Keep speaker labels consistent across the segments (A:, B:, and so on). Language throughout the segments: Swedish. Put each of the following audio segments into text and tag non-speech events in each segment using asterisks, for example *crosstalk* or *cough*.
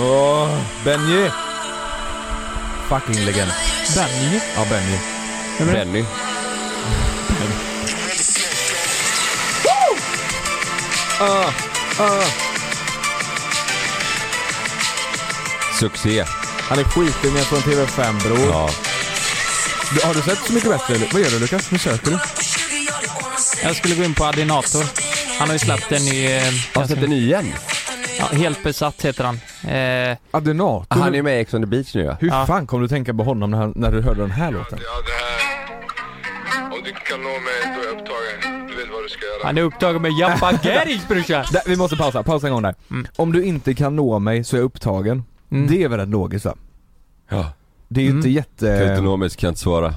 A: Åh, Benji! Fucking legend.
B: Benny.
A: Ja, Benji.
C: Benny. Uh, Succé.
A: Han är skitdum från TV5 bror.
C: Ja.
A: Du, har du sett Så Mycket Bättre? eller? Vad gör du Lukas? Nu söker du.
B: Jag skulle gå in på Adinator. Han har ju släppt en ny... eh,
C: Har sett den igen?
B: Ja, helt besatt heter han. Eh,
A: Adenator.
C: Han är med i Ex on the beach nu ja.
A: Hur
B: Ja.
A: fan kom du tänka på honom när, han, när du hörde den här låten?
D: Ja, det här. Och du kan nå mig, då är jag upptagen. Du vet vad du ska göra.
B: han är upptagen med Jappa Gerich brorsan.
A: Där, vi måste pausa, pausa en gång där. Om du inte kan nå mig så är jag upptagen.
B: Mm.
A: Det är väl rätt logiskt va?
C: ja.
A: Det är ju inte jätte...
C: Kan inte nå mig så kan jag inte svara.
A: *laughs*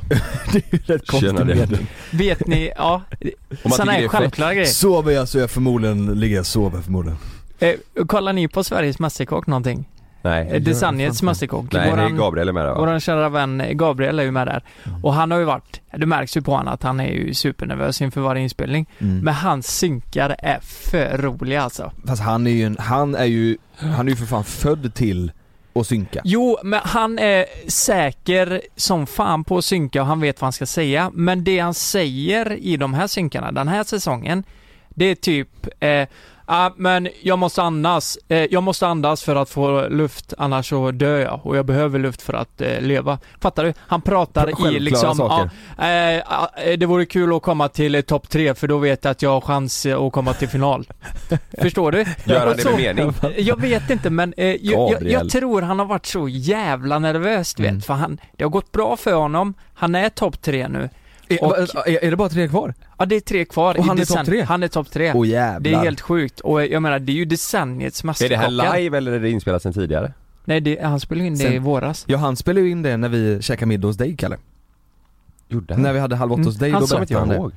A: det är ju rätt konstig
C: Tjena, det.
A: mening.
B: Vet ni, ja.
C: Om man
B: Sådana
C: tycker det
B: här
C: är
B: självklara grejer.
A: Sover jag så är jag förmodligen, ligger jag och sover förmodligen.
B: Eh, kollar ni på Sveriges Mästerkock någonting? Eh,
C: Nej.
B: Designiets Mästerkock.
C: Nej, det är
B: Våran,
C: Gabriel Mm. är med där va?
B: våran kära vän Gabriel är ju med där. Och han har ju varit, det märks ju på honom att han är ju supernervös inför varje inspelning.
C: Mm.
B: Men hans synkar är för roliga alltså.
A: Fast han är ju en, han är ju, han är ju för fan född till att synka.
B: Jo, men han är säker som fan på att synka och han vet vad han ska säga. Men det han säger i de här synkarna den här säsongen, det är typ eh, ah, men jag måste andas, eh, jag måste andas för att få luft annars så dör jag och jag behöver luft för att eh, leva. Fattar du? Han pratar i
A: Självklara
B: liksom,
A: saker.
B: ah, eh, ah, eh, det vore kul att komoma till eh, topp tre för då vet jag att jag har chans eh, att komma till final.
A: *laughs*
B: Förstår du?
C: Gör han
B: Och
C: det
B: så-
C: med mening?
B: jag vet inte men eh, jag, jag,
C: Gabriel.
B: jag tror han har varit så jävla nervös du
A: Mm.
B: vet, för han, det har gått bra för honom, han är topp tre nu.
A: Är,
B: Och-
A: är, är det bara tre kvar?
B: Ja det är tre kvar
A: Och
B: i
A: han är
B: decen-
A: topp tre?
B: Han är topp tre.
A: Åh jävlar.
B: det är helt sjukt och jag menar det är ju decenniets
C: Är det här
B: mästerkockar.
C: live eller är det inspelat sen tidigare?
B: Nej det, han spelade in det i
A: Sen-
B: våras.
A: Ja han spelade ju in det när vi käkade middag hos dig Kalle.
C: Gjorde
A: När vi hade Halv åtta
B: Mm,
A: hos dig,
B: han
A: då
B: sa
C: Kommer
A: berättade
C: inte jag
A: han det.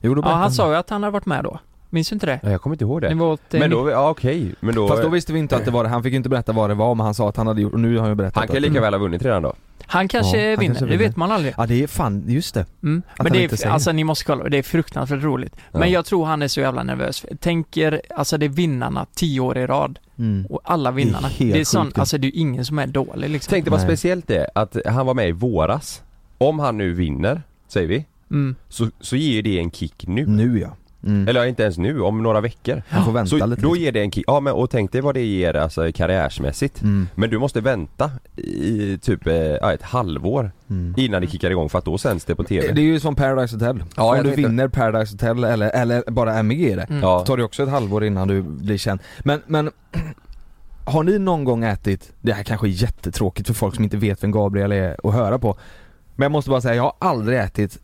C: ihåg.
A: Jo, då
B: Ja
A: berättade
B: han sa
A: det.
B: ju att han har varit med då. Minns du inte det?
C: Nej, jag kommer inte ihåg
B: Ni
C: det.
B: var åt, eh,
C: Men då, ja okej. Men då,
A: Fast då visste vi inte att det var det, han fick ju inte berätta vad det var men han sa att han hade gjort, och nu har han ju berättat
C: han kan ju
A: att-
C: lika väl ha vunnit redan då.
B: Han kanske
A: Ja, han
B: vinner,
A: kanske
B: det
A: vinner.
B: vet man aldrig.
A: Ja det är fan, just det.
B: Mm.
A: Att
B: Men
A: han
B: det
A: inte
B: är,
A: säger.
B: alltså ni måste kolla, det är fruktansvärt roligt.
C: Ja.
B: Men jag tror han är så jävla nervös. Tänk er, alltså det är vinnarna tio år i rad.
A: Mm.
B: Och alla vinnarna.
A: Det är
B: Det
A: helt
B: är, sån,
A: sjukt ju.
B: alltså det är ju ingen som är dålig liksom.
C: Tänk dig vad
A: Nej.
C: speciellt det är att han var med i våras. Om han nu vinner, säger vi,
B: Mm.
C: så, så ger ju det en kick nu.
A: Nu ja. Mm.
C: Eller inte ens nu, om några veckor.
A: Han får vänta
C: Så
A: lite.
C: då ger det en kick, ja men och tänk dig vad det ger alltså karriärsmässigt.
A: Mm.
C: Men du måste vänta i typ eh, ja, ett halvår
A: Mm. Eh,
C: innan det kickar igång för att då sänds det på TV.
A: Det är ju som Paradise Hotel.
C: Ja, jag
A: Om du
C: tänkte-
A: vinner Paradise Hotel eller, eller bara är med i det,
B: Mm.
C: Ja.
A: tar det också ett halvår innan du blir känd. Men, men *clears throat* har ni någon gång ätit, det här kanske är jättetråkigt för folk som inte vet vem Gabriel är att höra på. Men jag måste bara säga, jag har aldrig ätit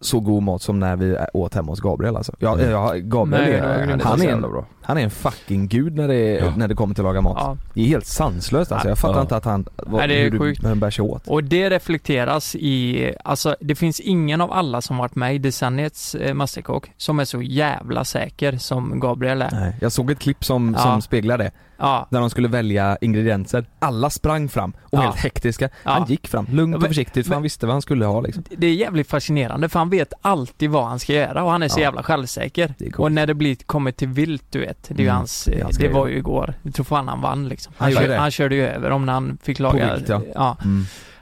A: så god mat som när vi åt hemma hos Gabriel alltså. Jag, jag, Gabriel
B: Nej,
A: är,
B: det var
A: han,
B: grymt.
C: så
A: är
C: jävla
A: en,
C: bra.
A: han är en fucking gud när det,
C: Ja.
A: när det kommer till att laga mat.
B: Ja.
A: Det är helt sanslöst alltså, jag fattar
C: Ja.
A: inte att han, vad,
B: Nej, det är
A: hur,
B: sjukt.
A: Du, hur han bär sig åt.
B: Och det reflekteras i, alltså det finns ingen av alla som varit med i decenniets eh, Masterkock som är så jävla säker som Gabriel är.
A: Nej. Jag såg ett klipp som,
B: Ja.
A: som speglar det.
B: Ja.
A: när de skulle välja ingredienser. Alla sprang fram och
B: Ja.
A: helt hektiska.
B: Ja.
A: Han gick fram lugnt
B: Ja,
A: och
B: men-
A: försiktigt för
B: men-
A: han visste vad han skulle ha liksom.
B: Det är jävligt fascinerande för han vet alltid vad han ska göra och han är så
A: Ja.
B: jävla självsäker.
A: Det är coolt.
B: Och när det blir, kommer till vilt du vet, det är ju
A: Mm,
B: hans, eh,
A: det är hans
B: det
A: grej.
B: var ju igår, jag tror fan han vann liksom.
A: Han
B: Han,
A: gjorde
B: kör,
A: det.
B: han körde ju över om när han fick laga...
A: vikt, ja.
B: ja.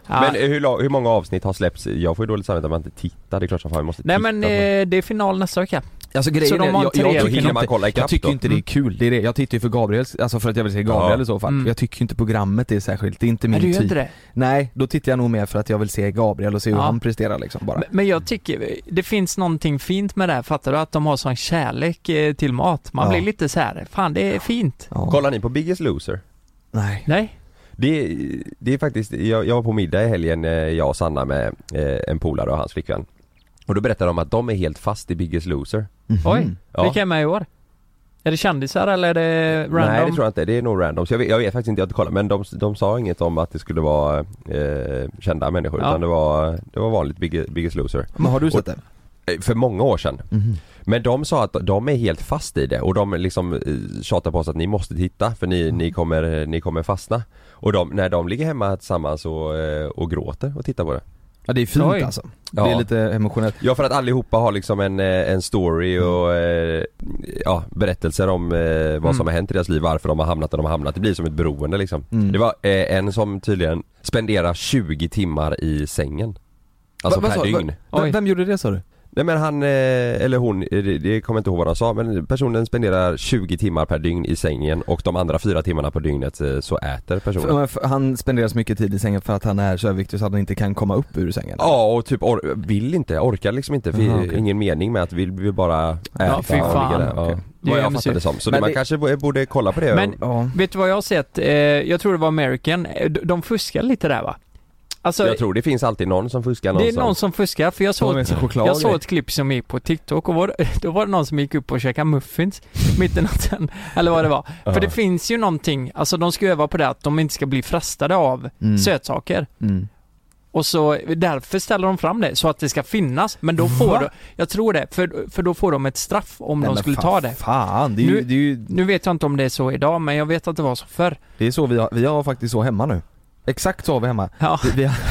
B: Ja.
C: Men eh, hur, la- hur många avsnitt har släppts? Jag får ju dåligt samvete om man inte tittar, det är klart som fan vi måste
B: Nej
C: titta
B: men
C: på det.
B: eh, det är final nästa vecka.
A: Alltså
B: Så de har
A: jag,
B: tre
A: jag,
B: Mm.
C: Då
B: jag
A: tycker
C: hinner
A: inte,
C: man kolla
A: jag
C: ikapp
A: tycker
C: då.
A: inte det är kul. Det är det. Jag tittar ju för Gabriels, alltså för att jag vill se Gabriel
C: Ja.
A: i så fall.
B: Mm.
A: Jag tycker ju inte på programmet är särskilt, det är inte
B: Men
A: min
B: du gör
A: typ.
B: inte det?
A: Nej, då tittar jag nog mer för att jag vill se Gabriel och se hur
B: Ja.
A: han presterar liksom bara.
B: Men- Men jag tycker, det finns någonting fint med det här, fattar du? Att de har sån kärlek eh, till mat. Man
A: Ja.
B: blir lite så här, fan det är fint.
A: ja.
C: Mm. Kollar ni på Biggest Loser?
A: Nej.
B: Nej?
C: Det, det är faktiskt, jag, jag var på middag i helgen, eh, jag och Sanna med eh, en polare och hans flickvän. Och då berättade de att de är helt fast i Biggest Loser.
A: Mhm.
B: Oj,
C: Ja.
B: vilka är med i år? Är det kändisar eller är det random?
C: Nej det tror jag inte, det är nog random. Så jag, vet, jag vet faktiskt inte, jag har inte kollat. Men de, de sa inget om att det skulle vara eh, kända människor
B: Ja.
C: utan det var, det var vanligt Big, Biggest Loser.
A: Men har du
C: Och-
A: sett det?
C: Eh, För många år sedan.
A: Mhm.
C: Men de sa att de är helt fast i det och de liksom eh, tjatar på oss att ni måste titta för ni,
B: Mm.
C: ni, kommer, ni kommer fastna. Och de, när de ligger hemma tillsammans och, eh, och gråter och tittar på det.
A: Ja det är fint
B: Oj.
A: alltså. Det
C: Ja.
A: är lite emotionellt.
C: Ja för att allihopa har liksom en, eh, en story
B: Mm.
C: och eh, ja, berättelser om eh, vad som
B: Mm.
C: har hänt i deras liv, varför de har hamnat där de har hamnat. Det blir som ett beroende liksom.
A: Mm.
C: Det var eh, en som tydligen spenderar 20 timmar i sängen. Alltså
A: Va- vad
C: per
A: sa- va-
C: dygn.
A: Vem-
B: Oj.
A: Vem gjorde det sa du?
C: Nej men han, eh, eller hon, eh, det, det kommer jag inte ihåg vad de sa men personen spenderar 20 timmar per dygn i sängen och de andra fyra timmarna på dygnet eh, så äter personen.
A: För, för, han spenderar så mycket tid i sängen för att han är så överviktig så att han inte kan komma upp ur sängen.
C: Ja och typ or- vill inte, orkar liksom inte, för
A: Jaha, Mm, okej.
C: ingen mening med att vi vill bara äta
B: fy fan.
C: och ligga där. Ja.
A: Okej.
B: Det är
C: Vad jag
B: hemskt.
C: fattar det som. Så
A: Men
C: man
A: det-
C: kanske bo- borde kolla på det.
B: Men-
A: Ja.
B: Vet du vad jag har sett? Eh, jag tror det var American. Eh, de- De fuskar lite där va? Alltså,
C: jag tror det finns alltid någon som fuskar
B: det är någon
C: någonstans.
B: som fuskar för jag
A: Så
B: såg
A: med sig choklad
B: Jag
A: och
B: såg
A: grejer.
B: ett klipp som gick på TikTok och var, *laughs* då var det någon som gick upp och käkade muffins *laughs* mitt i natten, eller vad det var. För det finns ju någonting, alltså de ska öva på det att de inte ska bli frestade av
A: Mm.
B: sötsaker.
A: Mm.
B: Och så, därför ställer de fram det, så att det ska finnas. Men då får
A: Va?
B: de, jag tror det, för, för då får de ett straff om
A: Nej,
B: de
A: men
B: skulle
A: fa-
B: ta det.
A: Fan, det är ju,
B: Nu-
A: det är ju,
B: Nu vet jag inte om det är så idag, men jag vet att det var så förr.
A: det är så vi har, vi har faktiskt så hemma nu. Exakt så har vi hemma.
B: Ja.
A: Vi, vi har, *laughs*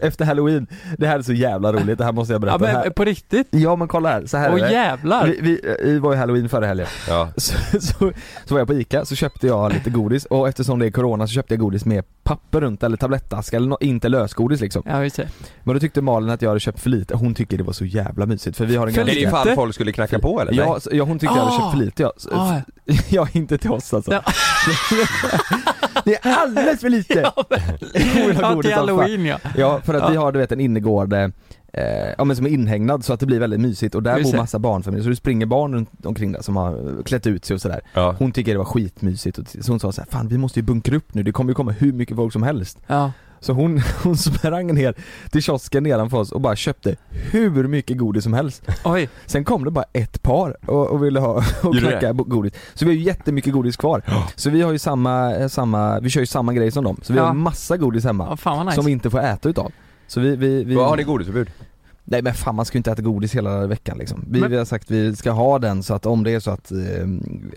A: efter halloween, det här är så jävla roligt, det här måste jag
B: Ja,
A: berätta. här.
B: men på riktigt?
A: Ja men kolla här, så här
B: Åh
A: är det.
B: jävlar!
A: Vi, vi, vi var ju halloween förra helgen. *laughs*
C: Ja.
A: Så, så, så var jag på ICA, så köpte jag lite godis och eftersom det är corona så köpte jag godis med papper runt eller tablettask eller nå- inte lösgodis liksom.
B: Ja, just det.
A: Men då tyckte Malin att jag hade köpt för lite, hon tycker det var så jävla mysigt för vi har en
B: För
C: Är det
A: ganska...
B: lite?
C: ifall folk skulle knacka på eller?
A: Ja, så- ja hon tyckte jag hade köpt för lite ja. Så,
B: Ah,
A: *laughs* ja, inte till oss alltså.
B: Ja.
A: *laughs* det är alldeles för lite!
B: ja,
A: *laughs* Oerhört
B: ja,
A: godis, alltså.
B: till halloween ja.
A: Ja, för att
B: Ja.
A: vi har du vet en innergård eh, ja, men som är inhägnad så att det blir väldigt mysigt och där
B: Just
A: bor
B: det.
A: massa barnfamiljer så det springer barn runt omkring där som har eh, klätt ut sig och sådär.
C: Ja.
A: Hon tycker det var skitmysigt och så hon sa så här, fan vi måste ju bunkra upp nu, det kommer ju komma hur mycket folk som helst.
B: ja.
A: *laughs* Så hon, hon sprang ner till kiosken nedanför oss och bara köpte hur mycket godis som helst.
B: Oj.
A: Sen kom det bara ett par och, och ville ha *laughs* och
C: Gjorde det?
A: knacka bo- godis. Så vi har ju jättemycket godis kvar. Så vi har ju samma, eh, samma, vi kör ju samma grej som dem. Så vi
B: Ja.
A: har massa godis hemma
B: Ja, fan vad nice.
A: som vi inte får äta utav. Så vi, vi, vi
C: Vad har ni godisförbud?
A: Nej men fan man ska ju inte äta godis hela veckan liksom. Vi,
B: Men-
A: vi har sagt vi ska ha den så att om det är så att, eh,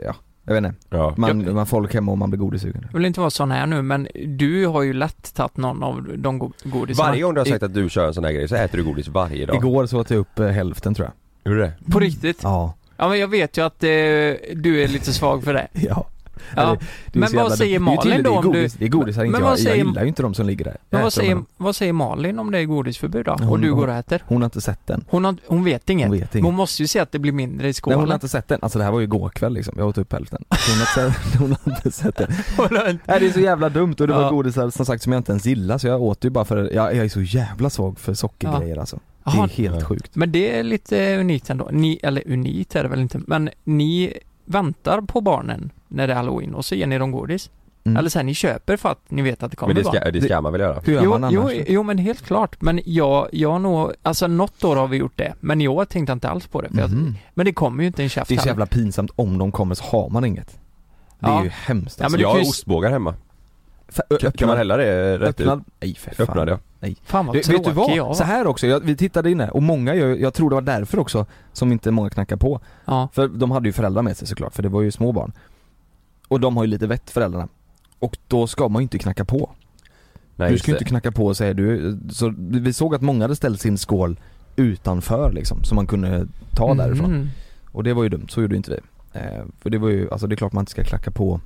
A: ja, jag vet inte,
C: Ja.
A: man, man får folk hemma och man blir godissugen.
B: Jag vill inte vara sån här nu, men du har ju lätt tagit någon av de go- godisarna.
C: Varje gång du har sagt att du kör en sån här grej så äter du godis varje dag.
A: Igår så åt jag upp eh, hälften tror jag.
C: Gjorde det?
B: På riktigt?
A: Mm. Ja.
B: Ja, men jag vet ju att eh, du är lite svag för det.
A: Ja.
B: Ja.
A: Nej, det är
B: Men
A: så
B: vad
A: jävla- det
B: säger
A: är ju
B: Malin
A: tydligt,
B: då om
A: Det är godis,
B: du-
A: det är godis här
B: Men
A: inte
B: vad
A: jag.
B: säger-
A: Jag gillar ju inte de som ligger där. Jag
B: Men vad
A: äter dem
B: säger,
A: ändå.
B: vad säger Malin om det är godisförbud då? och
A: Hon-
B: du går och äter?
A: Hon har inte sett den.
B: Hon, har, hon vet inget.
A: Hon
B: Hon,
A: vet inget.
B: måste ju se att det blir mindre i
A: Nej
B: skolan.
A: hon har inte sett den, alltså det här var ju igår kväll liksom, jag åt upp hälften. Så Hon har inte sett, *laughs* hon har inte sett den. Nej det är så jävla dumt och det
B: Ja.
A: var godisar som sagt som jag inte ens gillar så jag åt ju bara för, jag, jag är så jävla svag för sockergrejer alltså. Det
B: *laughs* Jaha,
A: är helt sjukt.
B: men det är lite unikt ändå. Ni, eller unikt är det väl inte, men ni väntar på barnen när det är halloween och så ger ni dem godis.
A: Mm.
B: Eller sen ni köper för att ni vet att det kommer
C: Men det
B: barn.
C: ska, det ska man väl göra?
A: Hur gör
B: Jo,
A: man annars?
B: jo, jo men helt klart. Men jag, jag har nog, alltså något år har vi gjort det. Men i år tänkte jag inte alls på det. För jag,
A: Mhm.
B: men det kommer ju inte en käft
A: Det är så
B: här.
A: jävla pinsamt, om de kommer så har man inget. Det är
B: Ja.
A: ju hemskt
B: Ja,
A: alltså.
B: men du
C: jag
B: kan
C: har
B: ju-
C: ostbågar hemma.
A: Fa-
C: Kan, kan man hälla det rätt ut?
A: öppnad? Nej för fan.
C: Öppnade jag.
B: Fan vad
A: Du,
B: tråkig
A: vet du vad?
B: jag var.
A: Så här också, jag, vi tittade in här och många gör, jag tror det var därför också som inte många knackar på.
B: Ja.
A: För de hade ju föräldrar med sig såklart, för det var ju små barn. Och de har ju lite vett föräldrarna. Och då ska man ju inte knacka på.
C: Nej,
A: du ska ju
C: just
A: inte
C: det.
A: knacka på säger du. Så vi såg att många hade ställt sin skål utanför liksom, som man kunde ta därifrån.
B: Mm.
A: Och det var ju dumt, så gjorde ju inte vi. Eh, för det var ju, alltså det är klart man inte ska klacka på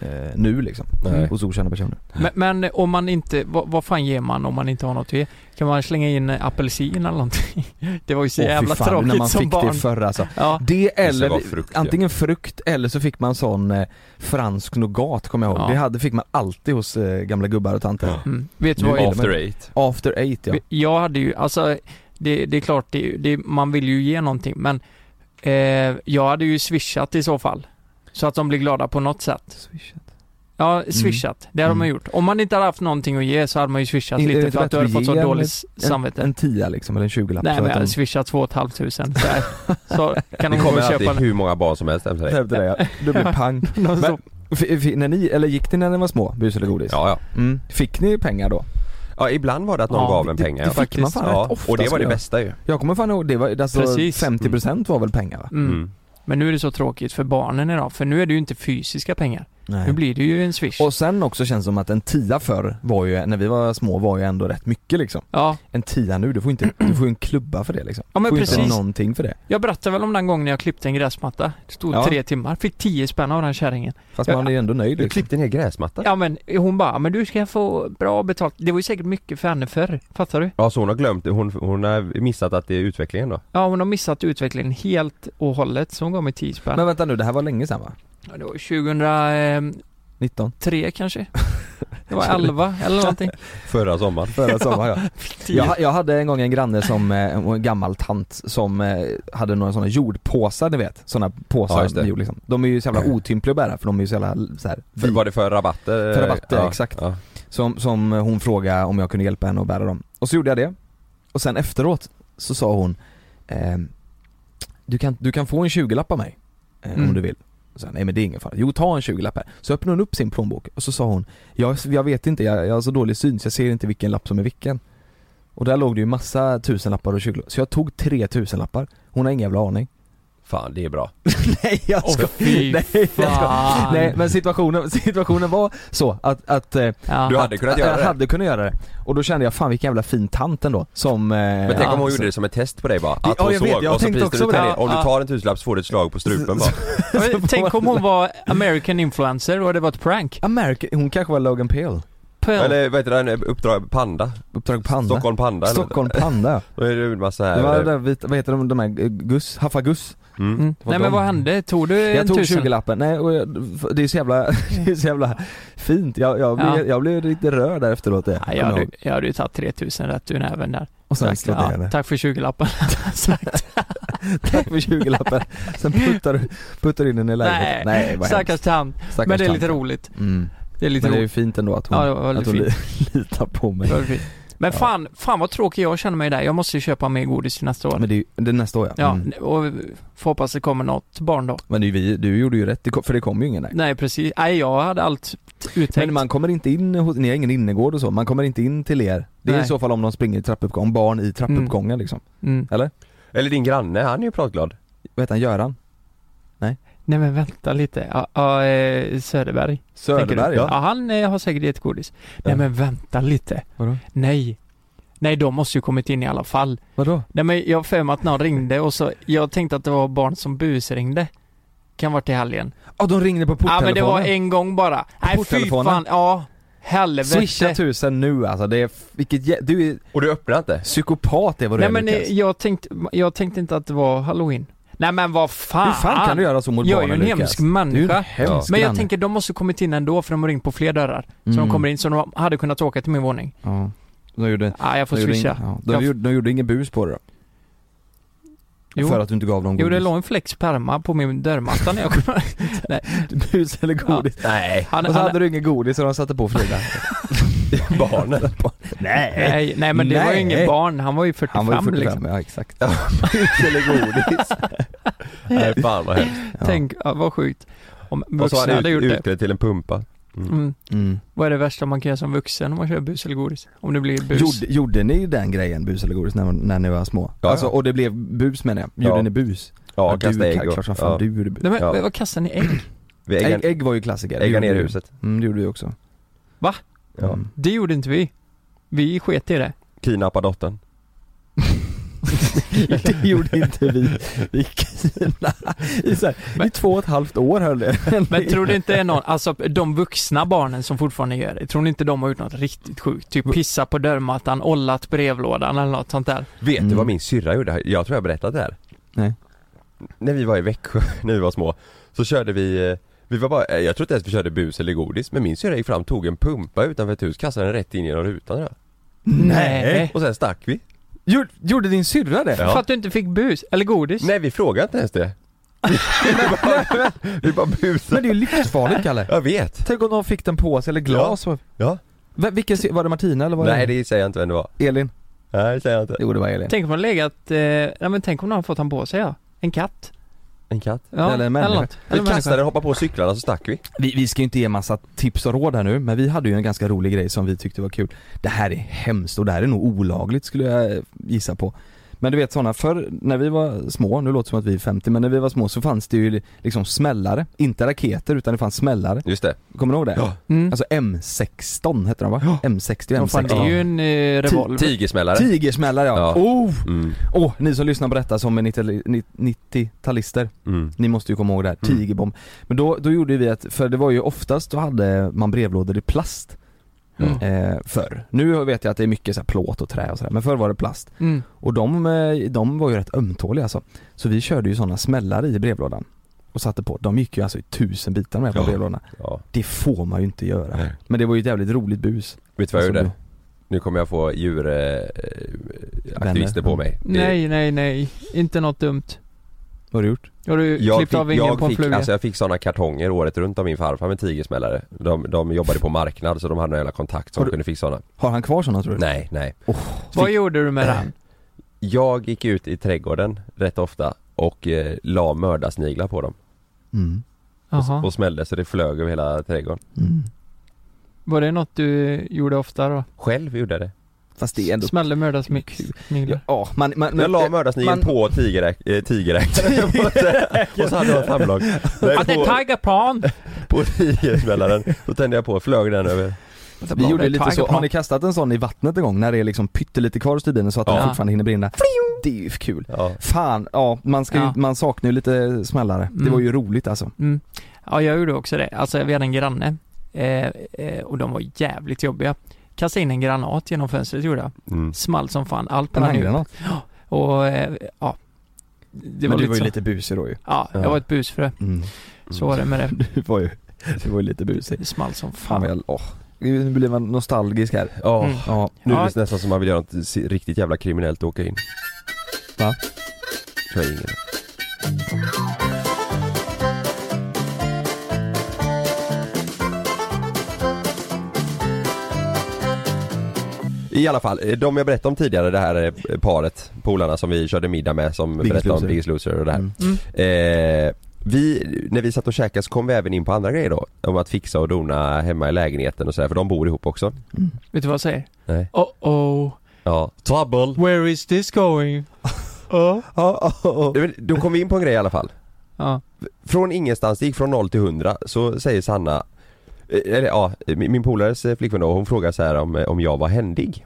A: eh, nu liksom.
C: Nej.
A: Hos okända personer.
B: Men, men om man inte, vad, vad fan ger man om man inte har något att ge? Kan man slänga in apelsin eller någonting? *laughs* Det var ju så
A: Åh, fy
B: jävla
A: fan,
B: tråkigt
A: när man
B: som
A: fick
B: barn.
A: det förr alltså.
B: Ja.
A: Det eller,
C: vara frukt, ja.
A: antingen frukt eller så fick man sån eh, fransk nougat kommer jag ihåg.
B: Ja.
A: Det hade, fick man alltid hos eh, gamla gubbar och tanter.
C: Ja.
B: Mm. Vet du
A: Nu
B: vad?
A: är
B: Jag,
A: det-
C: After eight.
A: After eight ja.
B: jag hade ju, alltså det, det är klart, det, det, man vill ju ge någonting men eh, jag hade ju swishat i så fall. Så att de blir glada på något sätt. Ja, swishat. Det hade
A: Mm.
B: man gjort. Om man inte hade haft någonting att ge så hade man ju swishat
A: Inte-
B: lite
A: inte
B: för att du
A: bättre
B: hade fått
A: att
B: så
A: ge än
B: dåligt samvete.
A: En, en tia liksom, eller en tjugolapp.
B: Nej
A: så
B: men
A: att
B: jag
A: de-
B: hade swishat två och ett halvt tusen. Så, här. så
A: *laughs*
B: kan
C: Det
B: de gå
A: Mm.
C: kommer
B: och
C: alltid
B: köpa en-
C: hur många barn som helst hem till dig.
A: Efter det,
B: *laughs*
A: ja. Du blir pang.
B: någon
A: Men-
B: sån-
A: F- f- när ni, eller gick ni när ni var små, bus eller godis?
C: Ja, ja.
A: Mm. Fick ni pengar då?
C: ja, ibland var det att någon
B: Ja,
C: gav en
A: det-
C: pengar.
A: det
C: ja.
A: fick man fan
C: ja.
A: rätt ofta,
C: Och det var
A: skulle
C: det
A: jag-
C: bästa ju.
A: Jag kommer fan ihåg, det var, alltså
B: Precis.
A: 50% var väl pengar va?
B: Mm.
C: Mm.
B: Men nu är det så tråkigt för barnen idag, för nu är det ju inte fysiska pengar.
A: Nej.
B: Nu blir det ju en swish.
A: Och sen också känns det som att en tia förr var ju, när vi var små var ju ändå rätt mycket liksom.
B: ja.
A: En tia nu, du får inte, du får ju en klubba för det liksom.
B: Ja, men
A: du får
B: precis.
A: inte någonting för det.
B: Jag berättade väl om den gången jag klippte en gräsmatta. Det stod
A: Ja.
B: tre timmar. Fick tio spänn av den kärringen.
A: Fast man är ju ändå nöjd
C: Du
A: liksom.
C: klippte en hel gräsmatta?
B: Ja men hon bara, men du ska få bra betalt. Det var ju säkert mycket för henne förr. Fattar du?
C: Ja så hon har glömt, hon, hon har missat att det är utvecklingen då?
B: Ja hon har missat utvecklingen helt och hållet. Så hon gav mig tio spänn.
A: Men vänta nu, det här var länge sedan va?
B: Ja, Det var 2003
A: 19?
B: kanske?
A: *laughs*
B: Det var 11 eller någonting.
C: Förra sommaren?
A: Förra sommaren ja. Jag, jag hade en gång en granne som, eh, en gammal tant som eh, hade några sådana jordpåsar ni vet, sådana
C: Ja,
A: påsar
C: just det.
A: med jord liksom. De är ju så jävla
C: *clears throat*
A: otympliga att bära för de är ju så jävla så här,
C: För, var det för rabatter?
A: För rabatter,
C: ja,
A: exakt.
C: Ja.
A: som, som hon frågade om jag kunde hjälpa henne att bära dem. Och så gjorde jag det. Och sen efteråt så sa hon ehm, du, kan, du kan få en 20-lapp av mig eh,
B: Mm.
A: om du vill. Och sen, Nej men det är ingen fara. Jo ta en 20-lapp här. Så öppnade hon upp sin plånbok och så sa hon Jag, jag vet inte, jag, jag har så dålig syn så jag ser inte vilken lapp som är vilken. Och där låg det ju massa tusenlappar och 20 Så jag tog tre tusenlappar. Hon har ingen jävla aning. *laughs*
C: Fan det är bra.
A: Nej jag
B: Åh, fy
A: Nej, jag skojar.
B: fan.
A: Nej men situationen, situationen var så att, att eh,
B: Ja.
C: Du hade kunnat göra
A: jag
C: det.
A: hade kunnat göra det. Och då kände jag fan vilken jävla fin tant ändå som... eh,
C: Men tänk om hon
B: Ja,
C: gjorde det som ett test på dig bara? Att
A: Ja,
C: hon
A: jag vet,
C: såg
A: jag
C: och så
A: tänkte
C: priste
A: också
C: du
A: på
C: till
A: det.
C: dig. Om du
B: Ja.
C: tar en tusenlapp så får du ett slag på
A: *laughs*
C: strupen bara.
B: Ja, men Tänk om hon var American influencer och det var ett prank.
A: America, hon kanske var Logan Pale.
B: Pearl.
C: Eller vad heter den, Uppdrag Panda?
A: Uppdrag Panda.
C: Stockholm Panda eller?
A: Stockholm
C: *laughs*
A: Panda
C: Då är det en massa
A: ja.
C: här. eh,
A: Det var det där vita, vad heter de, de här, eh, Guss, Haffa Guss.
C: Mm.
B: Mm.
A: var
B: Nej men
A: de.
B: vad hände? Tog du en
A: Jag tog
B: Eh, tusen?
A: 20-lappen, nej och jag, det är så jävla, *laughs* det är så jävla fint. Jag, jag,
B: Ja.
A: blev, jag blev lite rörd där efteråt det.
B: Ja, jag,
A: Kommer
B: hade,
A: ihåg.
B: jag hade ju tagit 3000 rätt ur näven där.
A: och sen
B: Tack.
A: slog
B: Ja,
A: jag ner
B: Tack för *laughs* 20-lappen. Sagt.
A: *laughs* Tack för 20-lappen. Sen puttar du puttar du in den i lägenheten.
B: Nej,
A: nej vad
B: Stackars
A: hemskt.
B: tant.
A: Stackars
B: Men det är lite
A: tant.
B: roligt.
A: Mm.
B: Det är lite
A: Men det är ju
B: roligt.
A: fint ändå att hon,
B: Ja, det var
A: att
B: väldigt
A: hon
B: fint.
A: li- *laughs* litar på mig.
B: Det var fint. Men
A: Ja.
B: fan, fan vad tråkig jag känner mig där. Jag måste ju köpa mer godis till nästa år.
A: Men det är, ju- det är nästa år
B: Ja,
A: Mm.
B: och får hoppas det kommer något barn då.
A: Men det är ju vi, du gjorde ju rätt, det kom- för det kom ju ingen där.
B: Nej precis, nej jag hade allt uttänkt.
A: Men man kommer inte in, hos- ni har ingen innergård och så, man kommer inte in till er. Det är
B: Nej.
A: i så fall om de springer i trappuppgång, barn i trappuppgången liksom.
B: mm.
C: Eller din granne, han är ju pratglad.
A: Vad heter han, Göran?
B: Nej men vänta lite, ja, ja, eh, Söderberg. tänker du?
A: Söderberg
B: ja.
A: ja.
B: han eh, har säkert gett godis. Nej
A: Ja.
B: men vänta lite,
A: Vadå?
B: nej. Nej de måste ju kommit in i alla fall.
A: Vadå?
B: Nej men jag har för mig att någon ringde och så, jag tänkte att det var barn som busringde. Kan varit i helgen.
A: Ja de ringde på
B: Ja men
A: porttelefonen.
B: det var en gång bara. Nej fy
A: porttelefonen?
B: fan, ja. Helvete.
A: Swisha tusen nu alltså, det är, vilket jä- du är
C: Och du öppnar inte? *laughs*
A: psykopat är vad du
B: Nej
A: är
B: men eh,
A: Lukas.
B: jag tänkte, jag tänkte inte att det var halloween. Nej men vad eh, fan.
A: Hur fan kan du göra så mot
B: Jag är ju
A: barnen
B: en
A: Lukas?
B: hemsk människa.
A: Du är en hemsk
B: Men jag
A: granne.
B: tänker de måste kommit in ändå för de har ringt på fler dörrar. Så de
A: Mm.
B: kommer in, så de hade kunnat åka till min våning.
A: Ja. De gjorde,
B: Ja, jag får
A: de gjorde, ing,
B: swisha.
A: ja. de,
B: Jag-
A: gjorde, de gjorde ingen bus på det då?
B: Jo.
A: För att du inte gav dem godis?
B: Jo det låg en flex perma på min dörrmatta när jag kom.
A: Bus eller godis?
C: Nej,
B: Han,
A: Och så
B: han,
A: hade du ingen godis och de satte på
C: *laughs*
A: Frida?
C: barnen.
A: *laughs* Nej!
B: nej, nej men det var ju
A: Nej.
B: ingen barn, han var ju 45,
A: Han var ju 45,
B: liksom.
A: ja exakt. *laughs*
C: Eller *laughs* godis. Nej fan vad hemskt.
A: Ja.
B: Tänk, ja, vad sjukt. Om
C: Och så
B: vuxna
C: har han
B: hade gjort
C: ut,
B: det.
C: utklädd till en pumpa.
B: Mm.
A: Mm.
B: Vad är det värsta man kan göra som vuxen om man kör bus eller godis? Om det blir bus?
A: Gjorde, gjorde ni den grejen, bus eller godis, när, när ni var små?
C: Ja,
A: alltså,
C: ja.
A: och det blev bus menar jag. Gjorde
C: Ja.
A: ni bus?
C: Ja,
A: du,
C: kasta ägg och...
A: Klart som fan
C: ja.
A: du gjorde bus.
B: Nej, men,
C: Ja.
B: Vad kastar ni ägg?
C: Vi
A: Ägg,
C: äggar,
A: ägg var ju klassiker. Det
C: äggar
A: gjorde
C: ner i
A: vi.
C: huset.
A: Mm, det gjorde vi också.
C: Ja.
A: Mm. *laughs*
B: Det gjorde inte vi. Vi sket i
C: *laughs*
B: det.
C: Kidnappa dottern.
A: det gjorde inte vi. Vi kidnappade i, så här, i
B: Men-
A: två och ett halvt år höll det.
B: Men tror du inte det är någon, alltså de vuxna barnen som fortfarande gör det, tror ni inte de har gjort något riktigt sjukt? Typ pissa på dörrmattan, ollat brevlådan eller något sånt där.
C: Vet du
A: Mm.
C: vad min syrra gjorde? Jag tror jag har berättat det här.
A: Nej.
C: När vi var i Växjö, *laughs* när vi var små, så körde vi eh, vi var bara, eh, jag tror inte ens vi körde bus eller godis men min syrra gick fram, tog en pumpa utanför ett hus, kastade den rätt in genom rutan där. Mm.
B: Nej.
C: Och sen stack vi.
A: Gjorde, gjorde din syrra det?
C: Ja.
B: För att du inte fick bus, eller godis.
C: Nej vi frågade inte ens det. *laughs* vi bara, vi bara
A: Men
C: busade.
A: det är ju livsfarligt Kalle.
C: Jag vet.
A: Tänk om någon fick den på sig, eller glas. och-
C: Ja.
A: Va- Vilken, sy- var det Martina eller var
C: Nej
A: det?
C: det säger jag inte vem det var.
A: Elin?
C: Nej det säger jag inte.
A: Jo det var Elin.
B: Tänk om man legat, eh, nej men tänk om någon har fått han på sig ja. En katt.
C: En katt.
B: Ja,
A: Eller en människa.
B: något.
C: Vi
B: Eller människa.
C: kastade, hoppade på cyklarna så stack vi.
A: Vi, vi ska ju inte ge massa tips och råd här nu, men vi hade ju en ganska rolig grej som vi tyckte var kul. Det här är hemskt och det här är nog olagligt skulle jag eh, gissa på. Men du vet sådana förr, när vi var små, nu låter det som att vi är 50, men när vi var små så fanns det ju liksom smällare. Inte raketer utan det fanns smällare.
C: Just det.
A: Kommer du ihåg det?
C: Ja.
B: Mm.
A: Alltså M16 hette de va? M60 och
B: Vad fan, det är
A: M16.
B: ju en eh,
C: Typ
B: revolver.
C: Tigersmällare.
A: Tigersmällare ja.
C: Ja.
A: Oh!
C: mm.
A: Åh, ni som lyssnar på detta som är 90 ni- 90-talister,
C: Mm.
A: ni måste ju komma ihåg det här,
C: Mm.
A: tigerbomb. Men då, då gjorde vi att, för det var ju oftast, då hade man brevlådor i plast
B: Mm.
A: eh, förr. Nu vet jag att det är mycket så här plåt och trä och sådär, men förr var det plast.
B: Mm.
A: Och de, eh, de var ju rätt ömtåliga alltså. Så vi körde ju sådana smällare i brevlådan och satte på. De gick ju alltså i tusen bitar med på
C: Ja.
A: brevlådorna.
C: Ja.
A: Det får man ju inte göra.
C: Nej.
A: Men det var ju ett jävligt roligt bus.
C: Vet du vad jag
A: Alltså,
C: gjorde? Nu kommer jag få djuraktivister på mig.
B: Mm. Nej, nej, nej. Inte något dumt.
A: Vad har du gjort?
B: Har du
C: Jag
B: klippt
C: fick,
B: av vingen
C: jag,
B: på en
C: fick,
B: fluga?
C: alltså jag fick sådana kartonger året runt av min farfar med tigersmällare. De, de jobbade på marknad så de hade någon jävla kontakt som
A: Har du-
C: kunde fixa sådana.
A: Har han kvar sådana tror du?
C: Nej, nej.
B: Vad gjorde du
A: *clears throat*
B: med den?
C: Jag gick ut i trädgården rätt ofta och eh, la mördarsniglar på dem.
A: Mm.
B: Jaha.
C: Och, och smällde så det flög över hela trädgården.
A: Mm.
B: Var det något du gjorde ofta då?
C: Själv gjorde jag det.
A: Fast det är ändå...
B: Smällde mördarsmix?
A: Ja,
B: Sniglar.
A: ja, man, man,
C: jag la mördarsnigeln
A: man-
C: på tigeräk- eh,
B: *laughs*
C: tigeräkten. och så hade jag ett handlag. Nej, på,
B: tigerplan!
C: på tigersmällaren. Då tände jag på och flög den över.
A: *laughs* Vi gjorde
B: Det är
A: lite så,
B: tigerplan.
A: har ni kastat en sån i vattnet en gång när det är liksom pyttelite kvar hos stubinen så att
B: Ja.
A: den fortfarande hinner brinna? Det är ju kul.
C: Ja.
A: Fan, ja man, ska ju,
B: Ja.
A: man saknar ju lite smällare. Det
B: Mm.
A: var ju roligt alltså.
B: Mm. Ja, jag gjorde också det. Alltså, vi hade en granne. Eh, eh, och de var jävligt jobbiga. Kastade in en granat genom fönstret gjorde jag.
C: Mm.
B: Small som fan. Allt
A: En
B: brann ut.
A: handgranat.
B: Och, eh, ja. Det var,
A: Men du
B: lite
A: var ju
B: så.
A: lite busig då ju.
B: Ja, jag
C: Ja.
B: var ett busfrö.
A: *laughs* Mm.
B: Så var det med det.
A: *laughs* Du var ju, du var ju lite busig.
B: Det small som
A: Fan vad
B: fan.
A: jag, åh. Nu blir man nostalgisk här.
C: Ja.
B: Mm.
A: Ja.
C: Nu är
B: Ja.
C: det nästan som man vill göra något si- riktigt jävla kriminellt och åka in.
A: Va?
C: Tror jag ingen. I alla fall, eh, de jag berättade om tidigare, det här eh, paret, polarna som vi körde middag med som
A: Biggest
C: berättade om
A: Loser.
C: Biggest Loser och det här.
A: Mm.
B: Mm.
C: Eh, vi, när vi satt och käkade så kom vi även in på andra grejer då. Om att fixa och dona hemma i lägenheten och sådär, för de bor ihop också.
B: Vet du vad jag säger?
C: Nej.
B: Oh oh,
C: Ja. Trouble!
B: where is this *laughs* going? Oh.
A: Ja, ja, ja.
C: Ja, men Då kom vi in på en grej i alla fall.
B: Ja.
C: Från ingenstans, det gick från 0 till 100, så säger Sanna eh, eller ja, min min polares eh, flickvän då, hon frågar så här om, eh, om jag
A: *laughs*
C: var händig.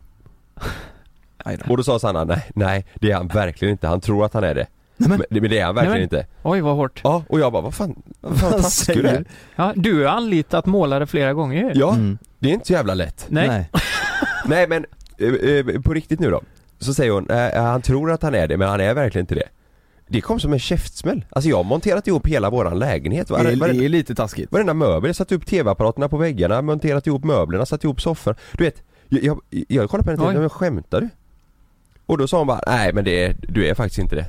A: Aj då.
C: Och då sa Sanna nej, nej det är han verkligen inte, han tror att han är det.
A: Nej, men-
C: men, men det är han verkligen
B: Nej,
C: inte.
B: Oj, vad hårt.
C: Ja, och jag bara vad fan, vad
A: *laughs*
C: fan
A: Vad
C: taskig
A: säger
C: du är.
A: du?
B: Ja, du har anlitat målare flera gånger ju.
C: Ja,
A: Mm.
C: det är inte så jävla lätt.
B: Nej.
C: Nej men, eh, eh, på riktigt nu då. Så säger hon, eh, han tror att han är det men han är verkligen inte det. Det kom som en käftsmäll. Alltså jag har monterat ihop hela våran lägenhet.
A: Det, är,
C: Varenda-
A: det är lite taskigt.
C: Varenda möbel, jag satt upp tv-apparaterna på väggarna, monterat ihop möblerna, satt ihop sofforna. Du vet, jag, jag, jag kollade på henne och
B: Oj.
C: tänkte, men skämtar du? Och då sa hon bara, nej men det, är- du är faktiskt inte det.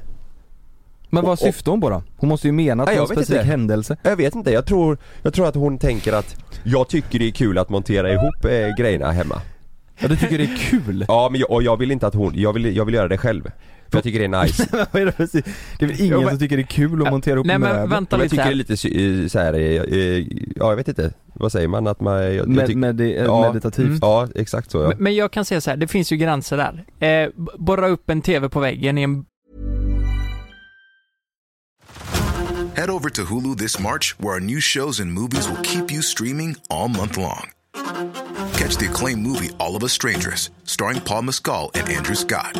A: Men vad
C: Och- och-
A: syftar hon på då? Hon måste ju mena att
C: Nej,
A: det var
C: jag
A: en
C: vet
A: specifik
C: inte.
A: händelse.
C: Jag vet inte, jag tror, jag tror att hon tänker att jag tycker det är kul att montera ihop eh, grejerna hemma.
A: Ja du tycker det är kul?
C: Ja men jag, och jag vill inte att hon, jag vill, jag vill göra det själv. För jag tycker det
A: *laughs*
C: är nice.
A: Vad är det för si- Det är väl ingen
B: Jo, men-
A: som tycker det är kul att montera upp
B: Nej men
A: möbler?
B: vänta
C: Men jag
B: lite
C: tycker det är
B: här.
C: lite sy- eh, så här, eh, eh, ja jag vet inte, vad säger man att man, jag, jag
A: Med,
C: tycker,
A: med, det-
C: Ja.
A: Meditativt.
B: Mm.
C: ja exakt så ja.
B: Men- Men jag kan säga så här, det finns ju gränser där. Eh, b- borra upp en TV på väggen i en
E: Head over to Hulu this March, where our new shows and movies will keep you streaming all month long. Catch the acclaimed movie All of Us Strangers, starring Paul Mescal and Andrew Scott.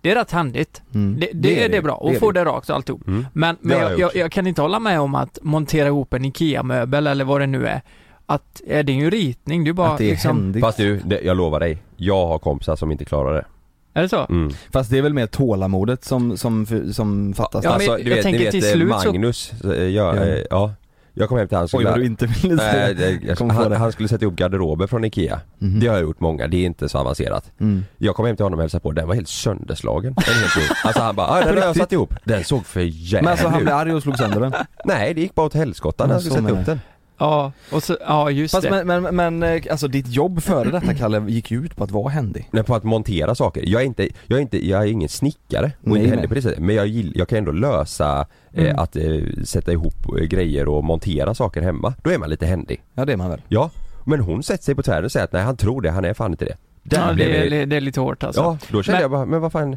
B: Det är rätt handigt.
A: Mm.
B: Det, det,
C: Mm, Det är
B: är det
C: det.
B: bra,
C: Det
B: och
C: är
B: få
C: det.
B: det rakt och alltihop.
C: Mm.
B: Men, men
C: har
B: jag,
C: jag
B: jag,
C: gjort.
B: jag kan inte hålla med om att montera ihop en IKEA-möbel eller vad det nu är. Att, eh, det är ju ritning, det är bara
A: Att det är
B: liksom...
A: händigt. Fast,
C: Fast du, det, jag lovar dig, jag har kompisar som inte klarar det.
B: Är det så?
C: Mm.
A: det är väl mer tålamodet som, som, som fattas.
B: Ja, men
C: alltså,
B: jag
C: du vet,
B: tänker
C: ni vet
B: till
C: eh,
B: slut så-
C: Magnus, så... ja,
A: Ja.
C: eh, ja Jag kom hem till han
A: Oj vad du inte ville säga.
C: Nej, det, jag,
A: Kommer få
C: han,
A: det.
C: han skulle sätta ihop garderober från IKEA.
A: Mhm.
C: Det har jag gjort många, det är inte så avancerat.
A: Mm.
C: Jag kom hem till honom och hälsade på, den var helt sönderslagen. Den är helt ny. alltså han bara, "Ah, den har jag satt ihop. Den såg för
A: Men
C: jävligt
A: alltså han
C: ut.
A: blev arg och slog
C: *laughs*
A: sönder den.
C: Nej det gick bara åt helskotta
A: Ja,
C: när jag
A: så
C: skulle sätta
A: menar
C: ihop den.
B: Ja, och så, ja just
A: Fast
B: det.
A: men, men, men eh, alltså ditt jobb före detta Kalle gick ju ut på att vara händig.
C: Nej, på att montera saker. Jag är inte, jag är inte, jag är ingen snickare och
A: Nej,
C: inte heller
A: nej.
C: på det sättet. Men jag, gill, jag kan ändå lösa
B: Mm.
C: eh, att eh, sätta ihop eh, grejer och montera saker hemma. Då är man lite händig.
A: Ja det är man väl?
C: Ja, men hon sätter sig på tvären och säger att nej han tror det, han är fan inte det.
B: ja,
C: blev
B: det, är-
C: jag-
B: det, det är lite hårt alltså.
C: Ja, då kände
B: Men-
C: jag bara, men vad fan.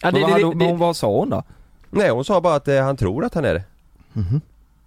B: Ja,
A: men,
B: det,
A: vad
B: det,
A: hade-
B: det,
A: men
B: det,
A: vad sa hon då?
C: Nej hon sa bara att eh, han tror att han är det.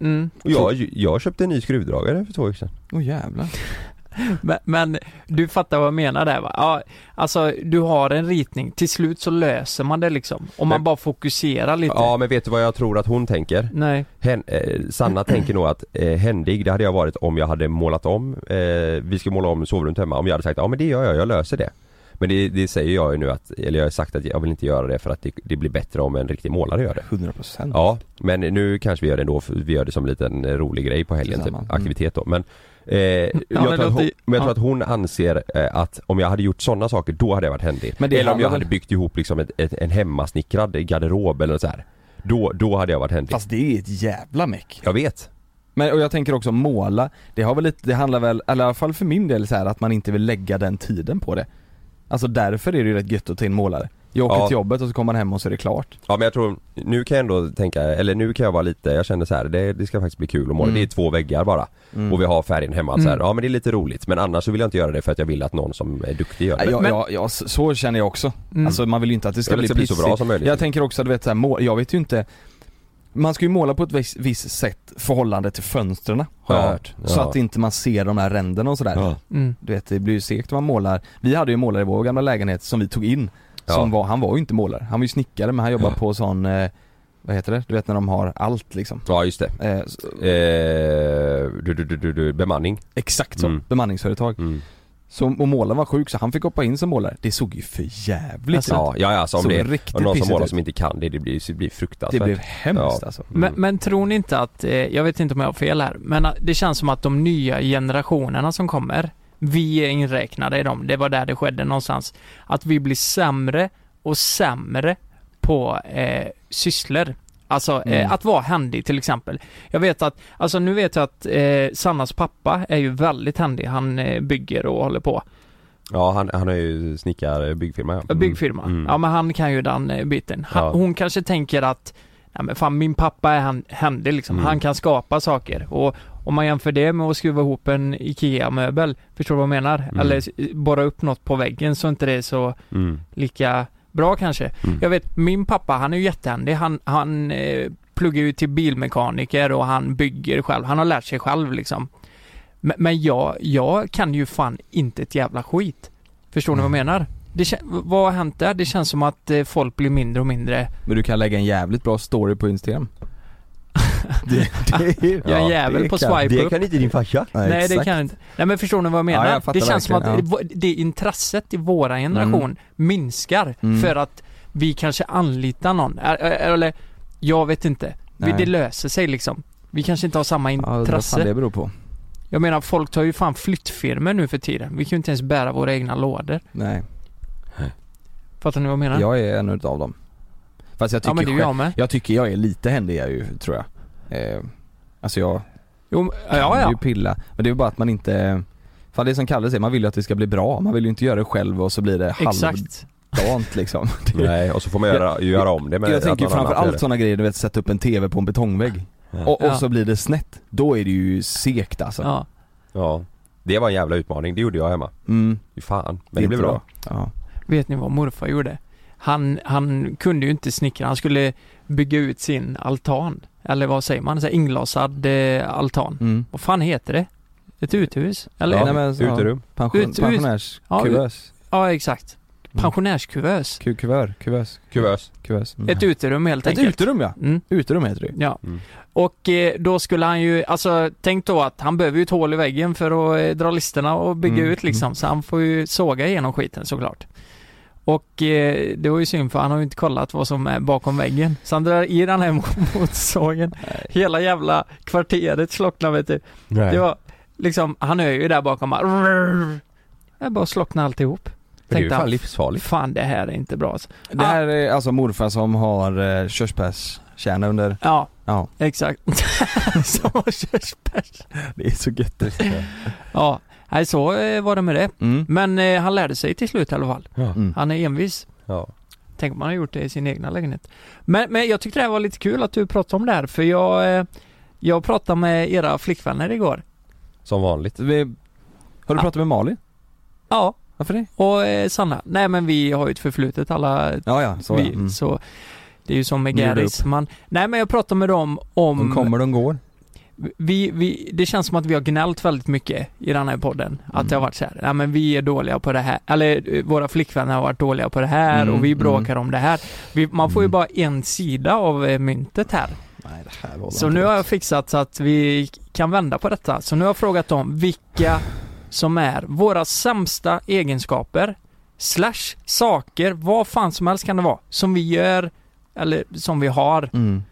B: mm.
C: Och jag, jag köpte en ny skruvdragare för två veckor sedan.
A: Åh jävlar.
C: Mm.
B: Men, men du fattar vad jag menar där va? Ja, alltså du har en ritning, till slut så löser man det liksom. Om man
C: Men-
B: bara fokuserar lite.
C: Ja men vet du vad jag tror att hon tänker?
B: Nej.
C: Hen, eh, Sanna tänker nog att eh, händig, det hade jag varit om jag hade målat om, eh, vi ska måla om sovrummet hemma, om jag hade sagt ja men det gör jag, jag löser det. Men det, det säger jag ju nu att, eller jag har sagt att jag vill inte göra det för att det, det blir bättre om en riktig målare gör det.
A: 100%.
C: Ja, men nu kanske vi gör det ändå, för vi gör det som en liten eh, rolig grej på helgen, typ,
A: Tillsammans. Mm.
C: aktivitet då. Men, eh, jag, tror
B: men
C: att hon,
B: låter-
C: men jag tror
B: ja.
C: att hon anser eh, att om jag hade gjort sådana saker, då hade jag varit händig.
A: Men det
C: eller om jag
A: handlar
C: hade
A: väl-
C: byggt ihop liksom ett, ett, en hemmasnickrad garderob eller så här. Då, då hade jag varit händig.
A: Fast det är ett jävla meck.
C: Jag vet.
A: Men och jag tänker också måla, det har väl lite, det handlar väl, eller i alla fall för min del så här att man inte vill lägga den tiden på det. Alltså därför är det ju rätt gött att ta in målare. Jag åker
C: Ja.
A: till jobbet och så kommer man hem och så är det klart.
C: Ja men jag tror, nu kan jag ändå tänka, eller nu kan jag vara lite, jag känner så här, det, det ska faktiskt bli kul att måla.
A: Mm.
C: Det är två väggar bara och vi har färgen hemma så här,
B: Mm.
C: ja men det är lite roligt men annars så vill jag inte göra det för att jag vill att någon som är duktig gör det.
A: Ja, jag,
B: Men-
A: jag, jag, så känner jag också.
B: Mm.
A: Alltså man vill ju inte att det
C: Jag
A: ska
C: vill
A: bli,
C: att det blir så
A: pissigt.
C: bra som möjligt.
A: Jag tänker också, du vet så här, mål, jag vet ju inte Man ska ju måla på ett visst, visst sätt förhållande till fönstren har jag
C: Ja,
A: hört. Så
C: ja.
A: att inte man ser de här ränderna och sådär.
C: Ja.
B: Mm.
A: Du vet det blir ju segt om man målar. Vi hade ju en målare i vår gamla lägenhet som vi tog in.
C: Ja.
A: Som var, han var ju inte målare. Han var ju snickare men han jobbade på sån, eh, vad heter det? Du vet när de har allt liksom.
C: Ja just det.
A: Eh, s-
C: Eh, du, du, du, du, du, bemanning.
A: exakt så,
C: Mm.
A: bemanningsföretag.
C: Mm.
A: Så, och målaren var sjuk så han fick hoppa in som målare. Det såg ju för jävligt
B: Alltså,
A: ut.
C: Ja, ja alltså om
A: Såg
C: det är
A: riktigt
C: om någon som
A: pissigt
C: målar
A: ut.
C: som inte kan det, det blir, det blir fruktansvärt.
A: Det blev hemskt alltså.
C: Mm.
B: Men, men tror ni inte att, eh, jag vet inte om jag har fel här, men att det känns som att de nya generationerna som kommer, vi är inräknade i dem, det var där det skedde någonstans, att vi blir sämre och sämre på eh, sysslor. Alltså eh,
A: Mm.
B: att vara händig till exempel. Jag vet att, alltså nu vet jag att eh, Sannas pappa är ju väldigt händig, han eh, bygger och håller på.
C: Ja han, han har ju snickar, byggfirma ja.
B: Ja, Byggfirma.
C: Mm.
B: Ja men han kan ju den eh, biten. Han,
C: Ja.
B: Hon kanske tänker att, nej men fan min pappa är han, händig liksom.
C: Mm.
B: Han kan skapa saker. Och om man jämför det med att skruva ihop en IKEA-möbel, förstår du vad jag menar?
C: Mm.
B: Eller s- borra upp något på väggen så inte det är så
C: Mm.
B: lika bra kanske.
C: Mm.
B: Jag vet, min pappa han är ju jättehändig. Han, han eh, pluggar ju till bilmekaniker och han bygger själv. Han har lärt sig själv liksom. Men, men jag, jag kan ju fan inte ett jävla skit. Förstår ni vad jag menar? Det, kän- vad har hänt där? Det känns som att eh, folk blir mindre och mindre.
A: Men du kan lägga en jävligt bra story på
C: *laughs*
A: Instagram. det, det,
B: Jag är en jävel
A: det
B: på
A: kan-
B: swipe upp.
C: kan inte din farsa.
A: Nej,
B: Nej det
A: exakt.
B: kan jag inte. Nej men förstår ni vad jag menar?
A: Ja, jag fattar
B: det känns som att
A: verkligen,
B: det- det intresset i våra generation minskar
A: Mm.
B: för att vi kanske anlitar någon. Ä- ä- Eller, jag vet inte. Vi,
A: Nej.
B: det löser sig liksom. Vi kanske inte har samma
A: Ja, undrar vad
B: intresse.
A: fan det beror på.
B: Jag menar folk tar ju fan flyttfirmor nu för tiden. Vi kan ju inte ens bära våra egna lådor.
A: Nej,
B: Fattar ni vad jag menar?
A: jag är en utav dem. Fast jag
B: ja
A: tycker
B: men det är ju
A: själv-
B: jag med.
A: Jag tycker jag är lite händig jag ju, tror jag. Eh, alltså jag
B: Jo, men-
A: kan
B: ja
A: ju
B: ja.
A: pilla. Men det är ju bara att man inte, fan det är som Kalle säger, man vill ju att det ska bli bra. Man vill ju inte göra det själv och så blir det halvdant
B: Exakt.
A: liksom.
C: *laughs* Nej och så får man göra, göra om det med
A: jag tänker ju
C: att någon annan gör
A: framförallt
C: det.
A: sådana grejer, du vet sätta upp en TV på en betongvägg. Och, och
B: Ja.
A: så blir det snett. Då är det ju segt alltså.
B: Ja.
C: Ja. Det var en jävla utmaning, det gjorde jag hemma.
A: Mm,
C: Fy fan,
A: det
C: men det
A: är
C: blev
A: inte
C: bra.
A: Ja.
B: Vet ni vad morfar gjorde? Han, han kunde ju inte snickra, han skulle bygga ut sin altan. Eller vad säger man? Så här inglasad eh, altan.
A: Mm.
B: Vad fan heter det? Ett uthus? Eller?
A: Ja.
B: Ja,
A: Nej, men, ja.
C: Uterum.
A: Pension,
B: Ut- ut- Ja,
A: pensionärskuvös.
B: exakt. Pensionärskuvös.
A: Ku- Kuvör, kuvös,
C: Kuvös.
A: *laughs* kuvös. Mm.
B: Ett uterum helt
A: Ett
B: enkelt.
A: uterum ja.
B: Mm.
A: Uterum heter det ju.
B: Ja.
C: Mm.
B: Och eh, då skulle han ju, alltså tänk då att han behöver ju ett hål i väggen för att eh, dra listerna och bygga
A: Mm,
B: ut liksom. Så han får ju såga igenom skiten såklart. Och eh, det var ju synd för han har ju inte kollat vad som är bakom väggen. Så han drar i den här *laughs* mot- motorsågen. Hela jävla kvarteret slocknar vet du.
C: Nej.
B: Det var liksom, han är ju där bakom bara. Jag bara slocknade alltihop.
C: det är ju
B: tänkte
C: fan
B: han.
C: livsfarligt.
B: Fan det här är inte bra alltså.
A: Det här är alltså morfar som har eh, körsbärskärna under,
B: Ja,
A: ja.
B: exakt. *laughs* Som har körsbärs.
A: Det är så gött.
B: Ja, nej så eh, var det med det.
A: Mm.
B: Men eh, han lärde sig till slut i alla fall.
C: Ja.
A: Mm.
B: Han är envis.
C: Ja.
B: Tänk om man har gjort det i sin egna lägenhet. Men, men jag tyckte det här var lite kul att du pratade om det här för jag, eh, jag pratade med era flickvänner igår.
C: Som vanligt.
A: Så vi, har du
B: Ah.
A: pratat med Malin?
B: Ja,
A: Varför det?
B: och eh, Sanna. Nej men vi har ju ett förflutet alla
A: Ja, ja, så
B: vi,
A: ja. Mm.
B: så det är ju som med
A: Bjuda
B: Gary
A: upp.
B: man, Nej men jag pratade med dem om...
A: De kommer, de går.
B: vi, vi, det känns som att vi har gnällt väldigt mycket i den här podden. Att
A: Mm.
B: det har varit så här, nej men vi är dåliga på det här, eller eh, våra flickvänner har varit dåliga på det här
A: Mm,
B: och vi bråkar om det här. Vi, man får ju
A: Mm.
B: bara en sida av eh, myntet här.
A: Nej, det här
B: Så nu har jag fixat så att vi kan vända på detta. Så nu har jag frågat dem vilka som är våra sämsta egenskaper slash saker, vad fan som helst kan det vara, som vi gör eller som vi har.
A: Mm.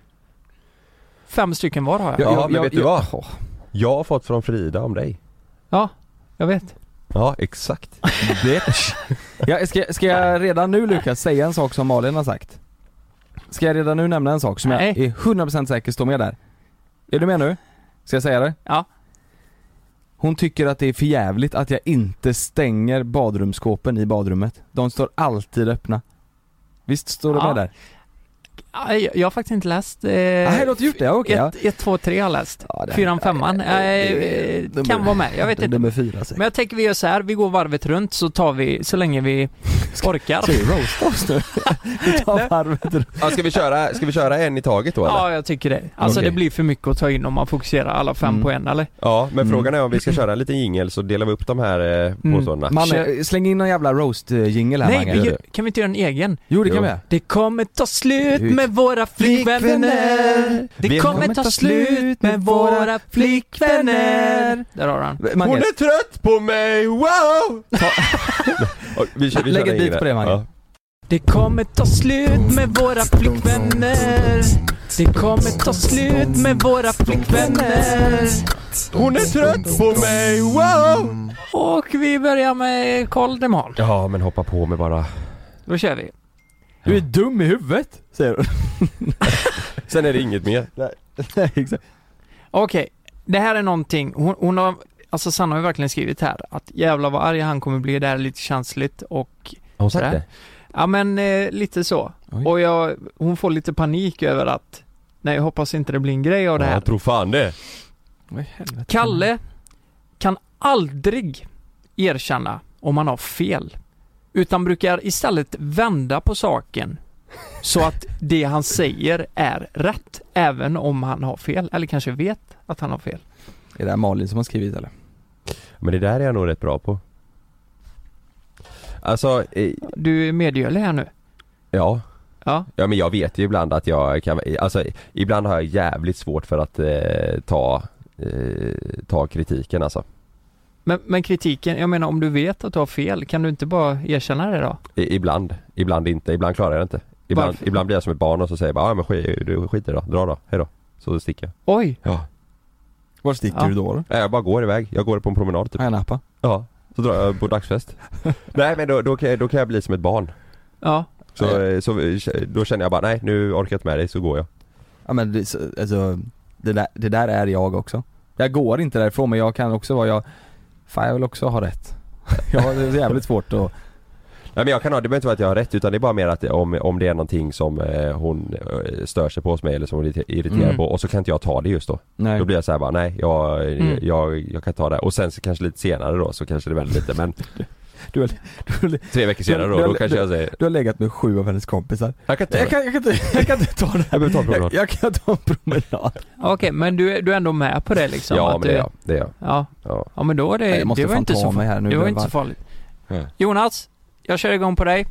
B: Fem stycken var har jag.
C: Ja,
A: Ja,
C: men
A: ja,
C: vet du
A: ja.
C: vad? Jag har fått från Frida om dig.
B: Ja, jag vet.
C: Ja, exakt.
A: Bitch. Ja, ska, ska jag redan nu Lukas säga en sak som Malin har sagt? Ska jag redan nu nämna en sak som
B: Nej.
A: jag är 100% säker står med där? Är du med nu? Ska jag säga det?
B: Ja.
A: Hon tycker att det är för jävligt att jag inte stänger badrumsskåpen i badrummet. De står alltid öppna. Visst står det
B: Ja.
A: med där?
B: Ja, Jag jag har faktiskt inte läst... Eh,
A: Nej, du har inte gjort det? Ja, Okej. ja.
B: 1, 2, 3 har jag läst.
A: Ja, det-
B: Fyran, femman.
A: ja, det- det-
B: Eh,
A: nummer-
B: Kan vara med, jag vet inte.
A: Nummer fyra säkert.
B: Men jag tänker vi gör så här, vi går varvet runt så tar vi, så länge vi
A: *laughs*
B: orkar.
A: Ska vi roasta oss nu? Vi tar varvet runt.
C: Ja, ska, vi köra, ska vi köra en i taget då eller? Ja,
B: Ja, jag tycker det. Alltså
A: Okej.
B: det blir för mycket att ta in om man fokuserar alla fem
A: Mm.
B: på en eller?
C: men
A: Mm.
C: frågan är om vi ska köra en liten jingel så delar vi upp de här eh,
B: Mm.
C: påståendena.
A: Man,
B: Kör-
A: eh, släng in någon jävla roast-jingel här
B: Nej,
A: Mange.
B: vi,
C: gör
B: gör- kan vi inte göra en egen?
A: Jo det
C: Jo.
A: kan vi göra.
B: Det kommer ta slut med våra flickvänner. Det
C: Vi
B: kommer ta slut med våra flickvänner. Där har han.
A: Mange,
C: Hon är trött på mig, wow!
A: *laughs*
C: Och vi kör, vi
A: Lägg
C: kör
A: ett
C: en
A: beat på det, Mange.
C: Ja.
B: Det kommer ta slut med våra flickvänner Det kommer ta slut med våra flickvänner
C: Hon är trött på mig, wow!
B: Och vi börjar med Karl Demal.
C: Ja men hoppa på mig bara.
B: Då kör vi.
A: du är dum i huvudet, säger du.
C: Sen är det inget mer.
A: Nej, exakt.
B: Okej, det här är någonting. Hon, hon har, alltså Sanna har ju verkligen skrivit här att jävla vad arg han kommer bli, det här är lite känsligt och
C: Har hon
B: sagt det? ja men eh, lite så.
A: Oj.
B: Och jag, hon får lite panik över att nej jag hoppas inte det blir en grej av det
C: Ja,
B: här.
C: jag tror fan det.
B: Kalle
C: Mm.
B: kan aldrig erkänna om han har fel. Utan brukar istället vända på saken. Så att det han säger är rätt. Även om han har fel. Eller kanske vet att han har fel.
A: Är det här Malin som har skrivit eller?
C: Men det där är jag nog rätt bra på. Alltså, eh,
B: Du är medgörlig här nu.
C: ja.
B: Ja.
C: Ja men jag vet ju ibland att jag kan, alltså ibland har jag jävligt svårt för att eh, ta, eh, ta kritiken alltså.
B: Men, men kritiken, jag menar om du vet att du har fel, kan du inte bara erkänna det då?
C: I, ibland, ibland inte, ibland klarar jag det inte. Ibland,
B: Varför?
C: ibland blir jag som ett barn och så säger jag bara, ja men skit, du skiter då, dra då, hejdå. Så sticker jag.
B: Oj!
C: Ja.
A: Var sticker
B: Ja.
A: du då?
C: Nej, Jag bara går iväg, jag går på en promenad typ.
A: Har jag nappa?
C: Ja. Så drar jag på dagsfest. nej men då, då, kan jag, då kan jag bli som ett barn.
B: Ja.
C: Så, eh, så, eh, då känner jag bara, nej nu orkar jag inte med dig, så går jag.
A: Ja men det, så- alltså, det där, det där är jag också. Jag går inte därifrån men jag kan också vara jag, fan jag vill också ha rätt. *laughs* Jag har det är jävligt svårt att,
C: Nej men jag kan ha, det behöver inte vara att jag har rätt utan det är bara mer att om, om det är någonting som eh, hon eh, stör sig på hos mig eller som hon är irrite- irriterad
A: Mm.
C: på och så kan inte jag ta det just då.
A: nej.
C: Då blir jag så här bara nej jag, eh,
B: Mm.
C: jag, jag kan ta det och sen så kanske lite senare då så kanske det vänder lite men
A: *laughs* Du har- du har-
C: Tre veckor senare då,
A: du har-
C: då kanske
A: du-
C: jag säger
A: Du har legat med sju av hennes kompisar.
C: Jag kan ta
A: Jag
C: det.
A: kan, jag kan, inte, jag kan inte ta det här.
C: Jag behöver ta en promenad.
A: Jag, jag kan ta en promenad.
B: Okej, men du, är- du är ändå med på det liksom?
C: Ja
B: att
C: men
B: du,
C: det är jag, det är jag.
B: Ja.
C: Ja.
B: ja, men då är det,
A: Jag måste
B: det var
A: fan
B: inte
A: ta
B: så
A: mig här nu.
B: det var
A: Det
B: inte
A: var-
B: så farligt.
C: Nej.
B: Jonas, jag kör igång på dig.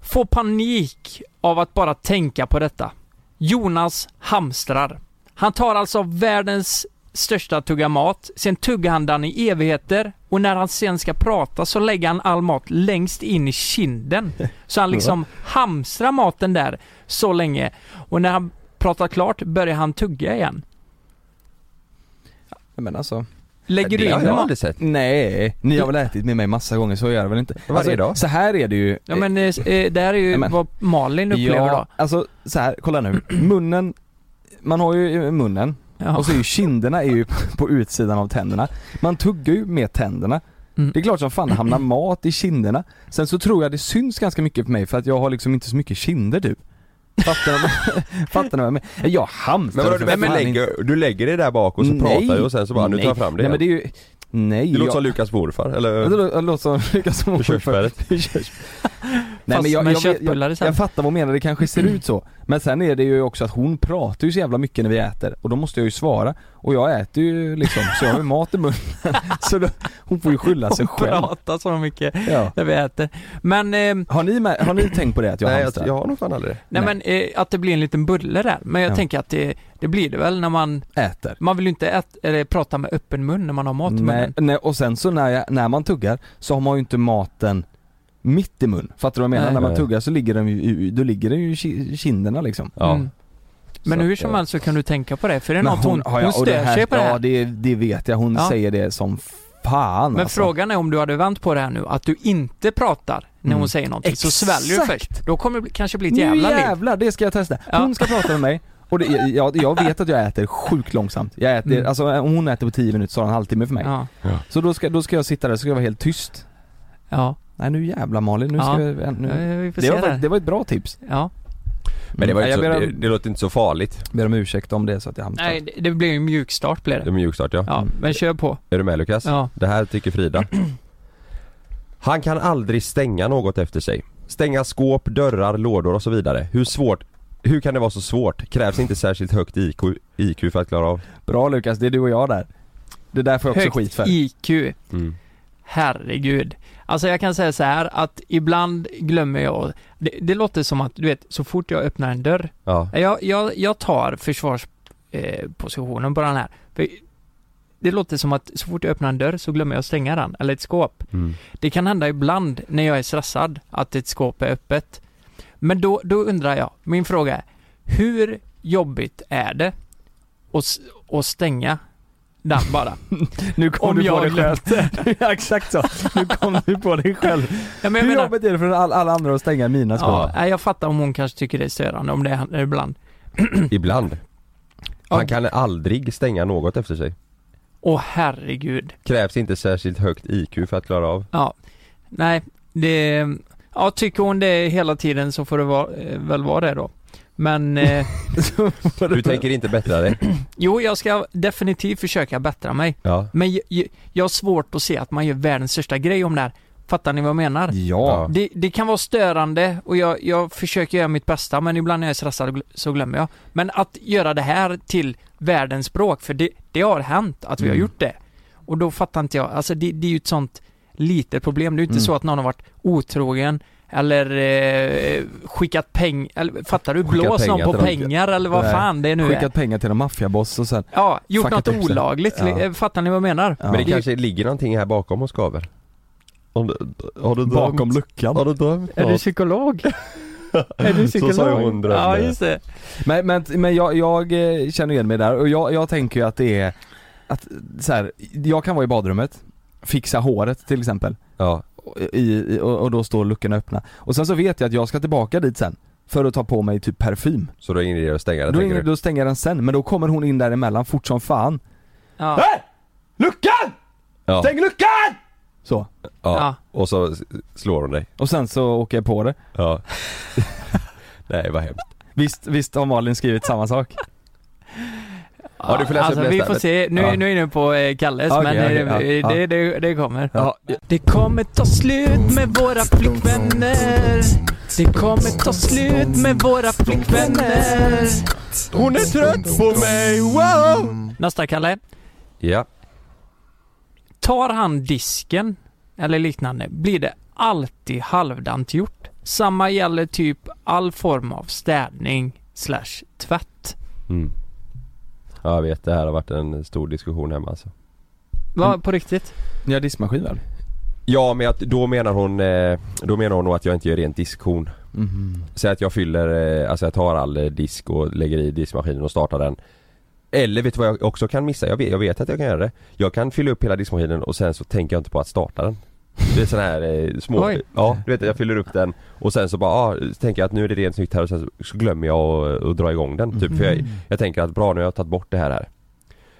B: Få panik av att bara tänka på detta. Jonas hamstrar. Han tar alltså världens största tugga mat, sen tuggar han den i evigheter Och när han sen ska prata så lägger han all mat längst in i kinden. Så
C: *laughs*
B: han liksom hamstrar maten där så länge. Och när han pratar klart börjar han tugga igen.
A: Men alltså,
B: Lägger du
C: det
B: in
C: har jag
B: mat?
C: aldrig sett.
A: nej, ni har väl ätit med mig massa gånger så gör jag väl inte?
C: Varje
A: alltså,
C: dag.
A: Så här är det ju
B: Ja men eh, eh, det här är ju
A: Amen.
B: vad Malin upplever då.
A: alltså så här, kolla nu. Munnen, man har ju munnen
B: Ja.
A: och så är ju kinderna är ju på utsidan av tänderna. Man tuggar ju med tänderna.
B: Mm.
A: Det är klart som fan det hamnar mat i kinderna. Sen så tror jag det syns ganska mycket på mig för att jag har liksom inte så mycket kinder typ. Fattar ni vad- fattar ni vad jag menar? Jag hamstrar
C: Men vadå, du,
A: för
C: men
A: fan inte.
C: lägger, du lägger det där bak och så pratar du och sen så bara, nu tar jag fram det
A: Nej men det är
C: igen.
A: ju, nej.
C: Det låter
A: jag-
C: som Lukas morfar,
A: Ja,
C: eller?
A: Det lå- det låter som
B: *laughs*
A: Lukas Moberg.
C: Körsbäret.
A: *laughs* Nej, men jag,
B: med
A: jag, jag,
B: köttbullar i
A: jag,
B: sen.
A: jag fattar vad hon menar, det kanske ser ut så. Men sen är det ju också att hon pratar ju så jävla mycket när vi äter och då måste jag ju svara. Och jag äter ju liksom, så jag har ju mat i munnen. *laughs* Så då, hon får ju skylla sig
B: Hon
A: själv.
B: pratar så mycket
A: Ja.
B: när vi äter. Men, eh, nej,
A: Har, ni med, har ni tänkt på det att jag
C: Nej, jag,
A: hamstrar?
C: jag har nog fan aldrig det.
A: Nej.
B: men eh, att det blir en liten bulle där. Men jag
A: Ja.
B: tänker att det, det blir det väl när man,
A: Äter.
B: man vill ju inte ät, eller, prata med öppen mun när man har mat i
A: Nej,
B: munnen.
A: nej, och sen så när, jag, när man tuggar så har man ju inte maten mitt i mun. Fattar du vad jag menar?
B: Nej.
A: När man
C: Nej.
A: tuggar så ligger den ju, då ligger den ju i ki- kinderna liksom.
C: Ja.
B: Mm. Men
C: Så
B: hur
C: att,
B: som
C: eh,
B: helst så kan du tänka på det, för det är
A: Men
B: något hon,
A: har
B: hon,
A: jag- och
B: stör
A: här-
B: sig på det här.
A: Ja det, det vet jag, hon
B: Ja.
A: säger det som fan
B: men
A: alltså.
B: frågan är om du hade vänt på det här nu, att du inte pratar när
A: Mm.
B: hon säger någonting, så sväljer du
A: Exakt.
B: först. Då kommer det bli- kanske bli ett
A: Nu
B: jävla liv.
A: jävlar, det ska jag testa.
B: Ja.
A: Hon ska prata med mig och det, jag, jag vet att jag äter sjukt långsamt. Jag äter,
B: Mm.
A: alltså om hon äter på 10 minuter så har hon en halvtimme för mig.
B: Ja,
A: Så då ska, då ska jag sitta där, så ska jag vara helt tyst.
B: ja.
A: Nej nu jävlar Malin, nu
B: Ja.
A: ska jag, nu.
B: Eh, Vi får
A: Det,
B: se
A: var,
B: det.
A: fakt-
B: här.
A: det var ett bra tips. Mm.
B: Ja.
C: Men det, var ju
A: jag
C: inte så,
A: ber,
C: det,
A: om,
C: det låter inte så farligt.
A: ber om ursäkt om det så att jag hamnar.
B: Nej, det, det blir ju en mjukstart blir
C: Det är
B: det.
C: mjukstart ja.
B: Ja, men kör på.
C: Är du med Lukas?
B: Ja.
C: Det här tycker Frida. Han kan aldrig stänga något efter sig. Stänga skåp, dörrar, lådor och så vidare. Hur svårt, hur kan det vara så svårt? Krävs inte särskilt högt IQ, IQ för att klara av.
A: Bra Lukas, det är du och jag där. Det där får jag också
B: Högt
A: skit för.
B: IQ.
C: Mm.
B: Herregud. Alltså jag kan säga så här att ibland glömmer jag. Det, det låter som att, du vet, så fort jag öppnar en dörr.
C: Ja.
B: Jag, jag, jag tar försvarspositionen på den här. För det låter som att så fort jag öppnar en dörr så glömmer jag att stänga den, eller ett skåp.
C: Mm.
B: Det kan hända ibland när jag är stressad att ett skåp är öppet. Men då, då undrar jag, min fråga är, hur jobbigt är det att, s- att stänga den bara?
A: Nu kom
B: Om
A: du på
B: jag
A: dig själv. *laughs* Ja, Exakt så. Nu kom du på dig själv.
B: Ja, men jag
A: Hur
B: menar-
A: jobbigt är det för alla, alla andra att stänga mina skåp? *laughs*
B: Ja, nej, jag fattar om hon kanske tycker det är störande om det händer ibland.
C: *clears throat* Ibland.
B: Ja.
C: Han kan aldrig stänga något efter sig.
B: Åh herregud.
C: Krävs inte särskilt högt IQ för att klara av.
B: Ja. Nej, det... Ja, tycker hon det hela tiden så får det vara, eh, väl vara det då. Men eh,
C: Du tänker inte bättra dig?
B: jo, jag ska definitivt försöka bättra mig.
C: Ja.
B: Men jag, jag, jag har svårt att se att man gör världens största grej om det här. Fattar ni vad jag menar?
A: Ja.
B: Det, det kan vara störande och jag, jag försöker göra mitt bästa men ibland när jag är stressad gl- så glömmer jag. Men att göra det här till världens språk, för det, det har hänt att vi har
A: Mm.
B: gjort det. Och då fattar inte jag, alltså det, det är ju ett sånt litet problem. Det är ju inte
A: Mm.
B: så att någon har varit otrogen eller eh, skickat pengar, eller fattar du?
C: Skickat
B: Blåst någon
C: pengar
B: på
C: till dem.
B: pengar eller vad
A: Nej.
B: fan det nu är.
A: Skickat pengar till en maffiaboss och sen
B: Ja, gjort
A: Fuckat
B: något
A: upp sig.
B: olagligt.
A: Ja.
B: Eh, Fattar ni vad jag menar?
A: Ja.
C: Men det
B: Det är ju-
C: kanske ligger någonting här bakom och skaver? Om du, har du drömt?
A: bakom luckan.
C: Har du drömt
B: Är du
C: något?
B: psykolog? är du psykolog?
C: sa ju hon drömde.
B: Ja, just det.
A: Men, men, men jag, jag eh, känner igen mig där och jag, jag tänker ju att det är att så här, jag kan vara i badrummet, fixa håret till exempel
C: Ja.
A: och- i, i, och och då står luckorna öppna. Och sen så vet jag att jag ska tillbaka dit sen för att ta på mig typ parfym.
C: Så då ringer det och stänger det
A: Då,
C: tänker
A: ringer,
C: du?
A: då stänger jag den sen, men då kommer hon in däremellan fort som fan.
B: Ja.
A: Luckan!
C: Ja.
A: luckan! Så.
C: Ja.
B: Ja.
C: Och så s- slår hon dig.
A: Och sen så åker jag på det.
C: Ja. *laughs* Nej vad hemskt.
A: Visst, visst har Malin skrivit samma sak?
C: Ja, du får läsa
B: alltså,
C: upp
B: vi
C: nästa,
B: får
C: men-
B: se. Nu,
C: Ja.
B: nu är jag inne på eh, Kalles,
A: Okej,
B: men eh,
A: okej, ja,
B: det,
A: ja.
B: Det, det kommer.
A: Ja.
B: Det kommer ta slut med våra flickvänner. Det kommer ta slut med våra flickvänner.
C: Hon är trött på mig, wow!
B: Nästa Kalle.
C: Ja.
B: Tar han disken eller liknande blir det alltid halvdant gjort. Samma gäller typ all form av städning slash tvätt.
C: Mm. Ja jag vet, det här har varit en stor diskussion hemma alltså.
B: Va, på riktigt?
A: Ni har diskmaskin väl?
C: Ja men att, då menar hon, eh, då menar hon nog att jag inte gör rent diskhon.
A: Mhm.
C: Säg att jag fyller, eh, alltså jag tar all eh, disk och lägger i diskmaskinen och startar den. Eller vet du vad jag också kan missa? Jag vet, jag vet att jag kan göra det. Jag kan fylla upp hela diskmaskinen och sen så tänker jag inte på att starta den. Det är sån här eh, små,
B: Oj.
C: ja du vet jag fyller upp den och sen så bara, ah, så tänker jag att nu är det rent snyggt här och sen så- så glömmer jag att, att dra igång den typ. För jag,
B: Mm.
C: jag tänker att bra nu har jag tagit bort det här här.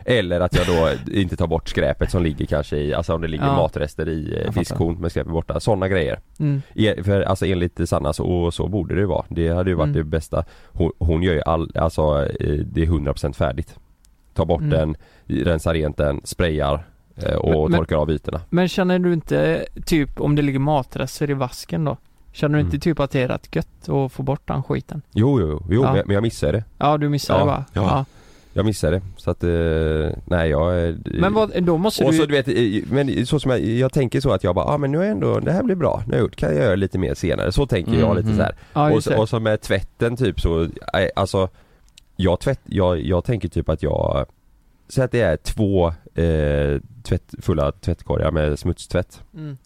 C: Eller att jag då inte tar bort skräpet som ligger kanske i, alltså om det ligger
B: Ja.
C: matrester i eh,
A: fattar.
C: diskhon med skräpet borta. Sådana grejer.
B: Mm.
C: E- För alltså enligt Sanna så, och så borde det ju vara. Det hade ju varit
B: Mm.
C: det bästa. Hon, hon gör ju all, alltså eh, det är 100% färdigt. Tar bort
B: Mm.
C: den, rensar rent den, sprayar eh, och
B: Men- men-
C: torkar av ytorna.
B: Men känner du inte, typ om det ligger matrester i vasken då? Känner du
C: Mm.
B: inte typ att det är rätt gött att få bort den skiten?
C: Jo, jo, jo,
B: Ja.
C: men, men jag missar det.
B: Ja, du missade
C: Ja,
B: va?
C: ja. Jag missar det. Så att, eh, nej jag... eh,
B: Men vad, då måste
C: och
B: du...
C: så du vet, eh, men så som jag, jag tänker så att jag bara, ah, men nu är jag ändå, det här blir bra, nu har jag gjort, kan jag göra lite mer senare, så tänker jag
A: Mm,
C: lite
A: mm.
C: så här.
B: ja,
C: och,
B: just
C: så,
B: det.
C: och så med tvätten typ så, nej, alltså jag, tvätt, jag, jag tänker typ att jag Säg att det är två eh, tvätt, fulla tvättkorgar med smutstvätt
B: Mm.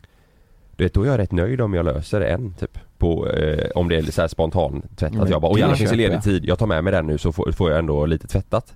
C: Du vet, då är jag rätt nöjd om jag löser en typ på, eh, om det är så här spontan tvätt
A: Mm,
C: att jag bara, och
A: det
C: gärna finns
A: köper
C: det ledig
A: jag.
C: tid, jag tar med mig den nu så får, får jag ändå lite tvättat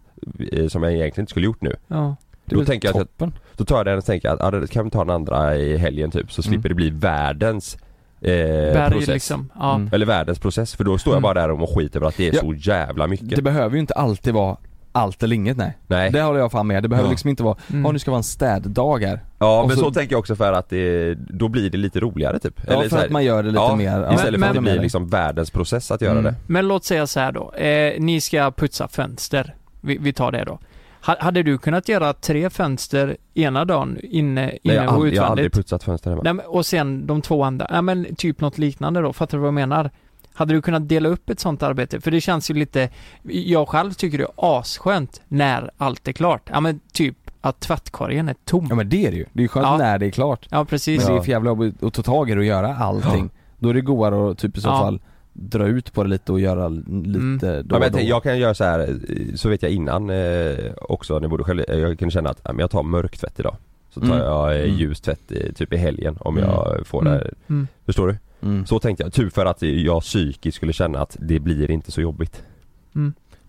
C: eh, Som jag egentligen inte skulle gjort nu
B: Ja.
A: är
C: Då
A: väl
C: tänker jag att-
A: toppen.
C: Då tar jag den och tänker att, ah, då kan vi ta den andra i helgen typ, så slipper det bli världens eh,
B: Berg
C: process
B: Mm. liksom. Ja.
A: Mm.
C: Eller världens process, för då står jag bara där och mår skit över att det är
A: Ja.
C: så jävla mycket
A: Det behöver ju inte alltid vara allt eller inget nej.
C: Nej.
A: Det håller jag fan med. Det behöver
C: Ja.
A: liksom inte vara, ja
B: Mm.
A: nu ska vara en städdag här.
C: Ja
A: Och
C: men så,
A: så-
C: tänker jag också för att det, då blir det lite roligare typ.
A: Ja
C: så
A: för
C: här-
A: att man gör det lite
C: ja,
A: mer. Ja,
C: Istället för
B: men-
C: att det
A: men-
C: blir liksom världens process att göra
A: Mm.
C: det.
B: Men låt säga så här då. Eh, ni ska putsa fönster. Vi, vi tar det då. Ha- hade du kunnat göra tre fönster ena dagen inne,
C: Nej,
B: inne
C: jag, har
B: och
C: aldrig- jag har aldrig
B: utvändigt?
C: putsat fönster hemma.
B: Nej, men- och sen de två andra. Ja, men typ något liknande då. Fattar du vad jag menar? Hade du kunnat dela upp ett sånt arbete? För det känns ju lite, jag själv tycker det är asskönt när allt är klart. Ja men typ att tvättkorgen är tom.
A: Ja men det är det ju. Det är ju skönt
B: Ja.
A: när det är klart.
B: Ja
A: Men
B: precis.
A: det är för jävla jobbigt att ta tag i det och göra allting. Då är det godare att typ i så
B: Ja.
A: fall dra ut på det lite och göra l- lite då
C: Mm. ja, men
A: och då.
C: jag, tänker, jag kan göra så här eh, så vet jag innan eh, också när jag bodde själv, eh, jag kunde känna att ja, men jag tar mörk tvätt idag. Så tar
A: Mm.
C: jag eh,
A: Mm.
C: ljus tvätt eh, typ i helgen om
A: Mm.
C: jag får
B: Mm.
C: det.
B: Mm.
C: Förstår du?
A: Mm.
C: Så tänkte jag, typ för att jag psykiskt skulle känna att det blir inte så jobbigt.